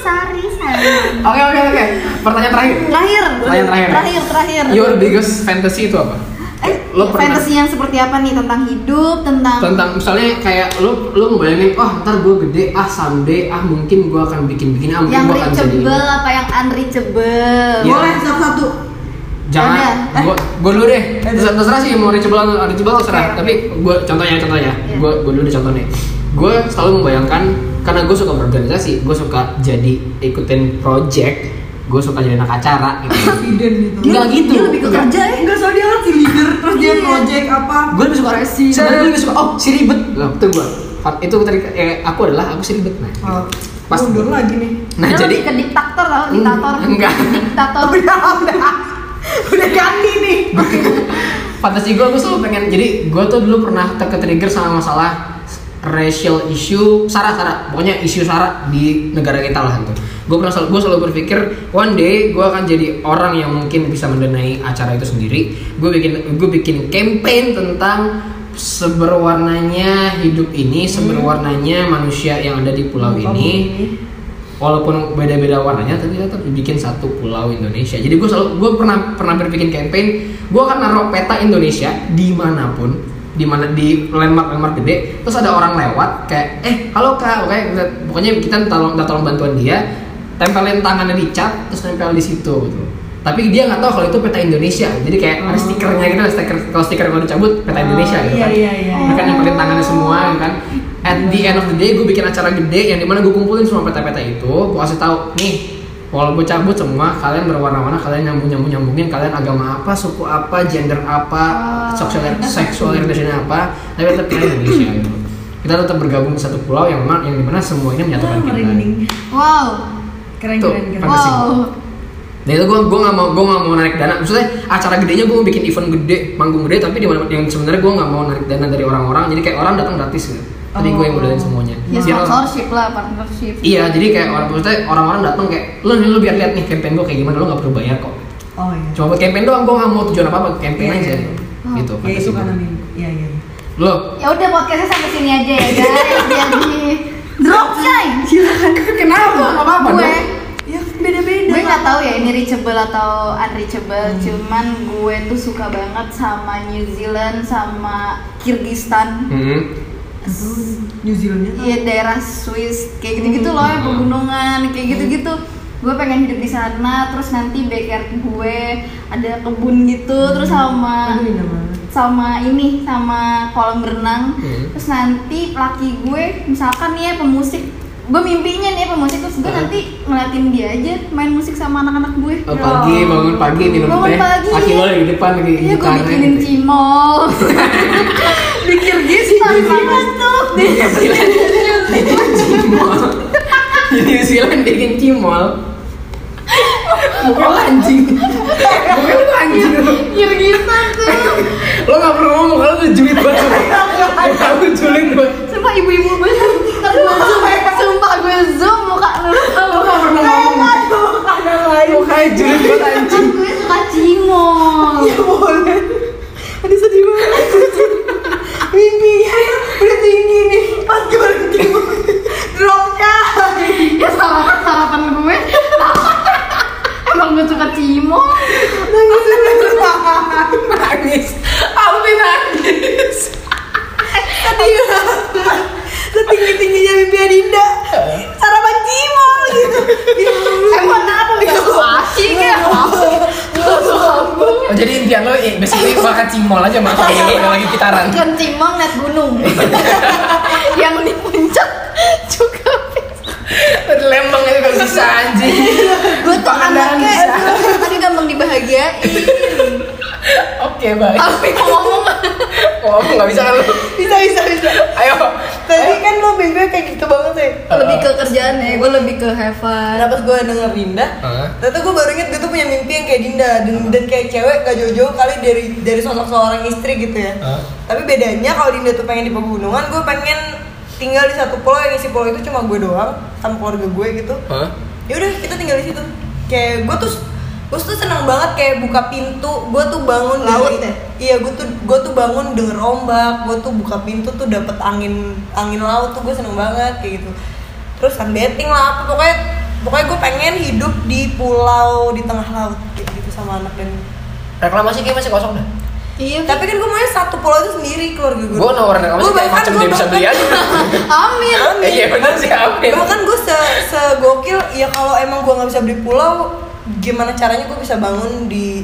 [SPEAKER 2] Sorry salah. ngomong.
[SPEAKER 1] oke oke oke pertanyaan terakhir
[SPEAKER 2] Terakhir.
[SPEAKER 1] Pertanyaan terakhir.
[SPEAKER 2] Terakhir
[SPEAKER 3] Iya.
[SPEAKER 2] terakhir.
[SPEAKER 1] your biggest fantasy itu apa
[SPEAKER 2] eh,
[SPEAKER 1] Lo pernah-
[SPEAKER 2] fantasy yang seperti apa nih tentang hidup, tentang
[SPEAKER 1] tentang misalnya kayak lu lu ngebayangin wah ntar gue gede ah someday ah mungkin gue akan bikin bikin ah
[SPEAKER 2] yang
[SPEAKER 1] mungkin gue akan jadi ini."
[SPEAKER 2] reachable apa yang unreachable.
[SPEAKER 1] Iya.
[SPEAKER 3] boleh satu satu
[SPEAKER 1] jangan
[SPEAKER 2] Ada.
[SPEAKER 1] gue gue dulu deh terserah, terserah sih mau reachable atau unreachable terserah
[SPEAKER 2] Oke.
[SPEAKER 1] tapi gue contohnya contohnya
[SPEAKER 2] Iya.
[SPEAKER 1] gue gue dulu deh contohnya gue selalu membayangkan karena gue suka berorganisasi gue suka jadi ikutin project gue suka jadi anak acara gitu
[SPEAKER 3] presiden gitu
[SPEAKER 2] Dia-
[SPEAKER 1] Nggak gitu.
[SPEAKER 2] Dia lebih ke kerja ya.
[SPEAKER 3] enggak soalnya dia kan si leader terus dia
[SPEAKER 2] Iya.
[SPEAKER 3] project apa
[SPEAKER 1] gue lebih suka resi sebenarnya gue lebih suka oh si ribet Nah, itu gue itu tadi eh, aku adalah aku si ribet nah gitu.
[SPEAKER 3] Oh,
[SPEAKER 1] Pas.
[SPEAKER 3] mundur lagi nih
[SPEAKER 1] nah
[SPEAKER 2] Dia
[SPEAKER 1] jadi Mm,
[SPEAKER 2] lebih ke diktator tau, diktator.
[SPEAKER 1] Enggak.
[SPEAKER 2] Diktator.
[SPEAKER 3] Ya udah udah udah ganti nih
[SPEAKER 1] fantasi gue gue selalu pengen jadi gue tuh dulu pernah terketrigger sama masalah racial issue sara sara pokoknya isu sara di negara kita lah gitu gue pernah selalu, gue selalu berpikir one day gue akan jadi orang yang mungkin bisa mendanai acara itu sendiri gue bikin gue bikin campaign tentang seberwarnanya hidup ini seberwarnanya manusia yang ada di pulau ini walaupun beda-beda warnanya tapi tetap dibikin satu pulau Indonesia jadi gue selalu gue pernah pernah berpikir campaign gue akan naruh peta Indonesia dimanapun di mana di landmark landmark gede terus ada orang lewat kayak eh halo kak oke pokoknya kita minta tolong minta tolong bantuan dia tempelin tangannya di cat terus nempel di situ gitu tapi dia nggak tahu kalau itu peta Indonesia jadi kayak ada
[SPEAKER 3] Oh.
[SPEAKER 1] stikernya gitu ada stiker kalau stiker kalau dicabut peta
[SPEAKER 3] Oh,
[SPEAKER 1] Indonesia gitu
[SPEAKER 3] iya,
[SPEAKER 1] kan
[SPEAKER 3] iya, iya.
[SPEAKER 1] Mereka nyamperin tangannya semua gitu kan at the end of the day gue bikin acara gede yang dimana gue kumpulin semua peta-peta itu gue kasih tahu nih kalau gue cabut semua kalian berwarna-warna kalian nyambung nyambung nyambungin kalian agama apa suku apa gender apa
[SPEAKER 4] Oh.
[SPEAKER 2] Ah.
[SPEAKER 1] seksual seksual orientasi apa tapi tetap kita Indonesia gitu kita tetap bergabung di satu pulau yang mana yang dimana semuanya
[SPEAKER 4] Wah,
[SPEAKER 1] menyatukan kan kita
[SPEAKER 4] merinding.
[SPEAKER 2] Wow.
[SPEAKER 4] Keren,
[SPEAKER 1] Tuh,
[SPEAKER 4] keren, keren.
[SPEAKER 1] Pak. Fantasi
[SPEAKER 2] Wow.
[SPEAKER 1] Nah itu gue gue nggak mau gue nggak mau narik dana. Maksudnya acara gedenya gue mau bikin event gede, manggung gede, tapi di mana yang sebenarnya gue nggak mau narik dana dari orang-orang. Jadi kayak orang datang gratis gitu. Tapi gue yang modalin semuanya.
[SPEAKER 2] Ya
[SPEAKER 1] Biar orang-
[SPEAKER 2] sponsorship lah, partnership.
[SPEAKER 1] iya, jadi kayak orang maksudnya orang-orang datang kayak lu lu biar lihat nih campaign gue kayak gimana lu nggak perlu bayar kok.
[SPEAKER 4] Oh iya.
[SPEAKER 1] Cuma buat campaign doang gue nggak mau tujuan apa apa campaign
[SPEAKER 4] Iya,
[SPEAKER 1] aja.
[SPEAKER 4] iya, iya.
[SPEAKER 2] Oh.
[SPEAKER 1] Gitu.
[SPEAKER 4] Ya itu karena
[SPEAKER 1] kan.
[SPEAKER 4] mimpi. Iya, iya. iya.
[SPEAKER 1] Lo
[SPEAKER 2] Ya udah podcastnya sampai sini aja ya guys. Jadi drop shine.
[SPEAKER 1] kenapa? Gak apa-apa.
[SPEAKER 2] gue
[SPEAKER 1] dong.
[SPEAKER 2] Iya,
[SPEAKER 4] Ya beda-beda.
[SPEAKER 2] gue nggak tahu ya ini reachable atau unreachable
[SPEAKER 1] Hmm.
[SPEAKER 2] cuman gue tuh suka banget sama New Zealand sama Kyrgyzstan
[SPEAKER 1] Hmm.
[SPEAKER 4] New Zealandnya tuh.
[SPEAKER 2] iya daerah Swiss kayak gitu gitu loh
[SPEAKER 1] Hmm.
[SPEAKER 2] ya pegunungan kayak gitu gitu gue pengen hidup di sana terus nanti backyard gue ada kebun gitu terus
[SPEAKER 1] Hmm.
[SPEAKER 2] sama
[SPEAKER 4] Aduh, indah banget.
[SPEAKER 2] sama ini sama kolam renang
[SPEAKER 1] Hmm.
[SPEAKER 2] terus nanti laki gue misalkan nih ya pemusik gue mimpinya nih ya pemusik terus gue
[SPEAKER 1] Hah?
[SPEAKER 2] nanti ngeliatin dia aja main musik sama anak-anak gue
[SPEAKER 1] Oh, pagi bangun pagi minum
[SPEAKER 2] Bangun
[SPEAKER 1] teh.
[SPEAKER 2] pagi.
[SPEAKER 1] Aki lo di depan lagi
[SPEAKER 2] Iya gue
[SPEAKER 1] gitarnya. gitu ya?
[SPEAKER 2] bikinin cimol Di Kyrgyzstan banget tuh
[SPEAKER 1] di New Zealand bikin cimol di New Zealand bikin cimol Mukanya lo anjing Mukanya lo anjing
[SPEAKER 2] Kyrgyzstan tuh
[SPEAKER 1] Lo gak perlu ngomong, lo udah julid banget Lo julid banget
[SPEAKER 2] Sumpah ibu-ibu banget Ntar gue zoom Sumpah gue zoom muka lu
[SPEAKER 1] Lo gak pernah ngomong
[SPEAKER 3] ada lain
[SPEAKER 1] Mukanya julid banget
[SPEAKER 2] Kan
[SPEAKER 1] anjing
[SPEAKER 2] gue suka cimol
[SPEAKER 3] ya boleh ada sedih banget mimpinya udah tinggi nih pas gue baru ketimbang drop kan
[SPEAKER 2] Ya sarapan sarapan gue Emang gue suka cimol
[SPEAKER 3] nangis udah
[SPEAKER 1] Nangis Aldi nangis
[SPEAKER 3] setinggi tingginya mimpi Adinda sarapan cimol gitu Ya Allah.
[SPEAKER 2] Emang kenapa gak suka asing ya Gak suka
[SPEAKER 1] Oh, jadi impian lo eh, basically makan cimol aja makan cimol lagi gitaran
[SPEAKER 2] Bukan cimol net gunung Yang di puncak juga
[SPEAKER 1] Tadi lembang itu gak bisa anjing
[SPEAKER 2] gue tuh
[SPEAKER 1] Pandangan
[SPEAKER 2] anaknya aduh, tadi gampang dibahagiain
[SPEAKER 1] Oke baik
[SPEAKER 2] tapi mau ngomong
[SPEAKER 1] Oh gak bisa kan lo
[SPEAKER 3] bisa bisa bisa
[SPEAKER 1] Ayo
[SPEAKER 3] tadi kan lo mimpinya kayak gitu banget ya
[SPEAKER 2] lebih ke kerjaan ya gue lebih ke have fun
[SPEAKER 3] Nah pas gue denger Dinda,
[SPEAKER 1] Heeh.
[SPEAKER 3] ternyata gue baru inget gue tuh punya mimpi yang kayak Dinda dan, dan kayak cewek gak jauh-jauh kali dari dari sosok seorang istri gitu ya.
[SPEAKER 1] Heeh.
[SPEAKER 3] Tapi bedanya kalau Dinda tuh pengen di pegunungan, gue pengen tinggal di satu pulau yang isi pulau itu cuma gue doang sama keluarga gue gitu.
[SPEAKER 1] Hah?
[SPEAKER 3] Ya udah kita tinggal di situ. Kayak gue tuh gue tuh seneng banget kayak buka pintu, gue tuh bangun
[SPEAKER 2] Laut ya?
[SPEAKER 3] dari, Iya gue tuh gue tuh bangun denger ombak, gue tuh buka pintu tuh dapet angin angin laut tuh gue seneng banget kayak gitu. Terus sunbathing lah apa pokoknya pokoknya gue pengen hidup di pulau di tengah laut kayak gitu sama anak dan
[SPEAKER 1] Reklamasi kayak masih kosong dah.
[SPEAKER 2] iya
[SPEAKER 3] tapi kan gue maunya satu pulau itu sendiri keluarga gue.
[SPEAKER 1] Gue nawarin reklamasi
[SPEAKER 3] Gua
[SPEAKER 1] kayak
[SPEAKER 3] bahkan-
[SPEAKER 1] macam
[SPEAKER 3] gua
[SPEAKER 1] dia bisa beli aja.
[SPEAKER 2] amin
[SPEAKER 1] Eh, Iya benar sih Amin.
[SPEAKER 3] bahkan gue kan se segokil ya kalau emang gue nggak bisa beli pulau gimana caranya gue bisa bangun di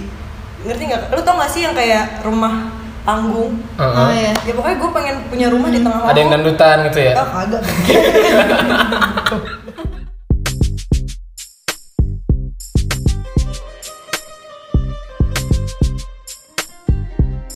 [SPEAKER 3] ngerti nggak lu tau gak sih yang kayak rumah panggung
[SPEAKER 2] oh iya Oh,
[SPEAKER 3] ya
[SPEAKER 1] ya?
[SPEAKER 3] pokoknya gue pengen punya rumah di tengah laut
[SPEAKER 1] Ada yang dandutan gitu ya.
[SPEAKER 3] Ah, kagak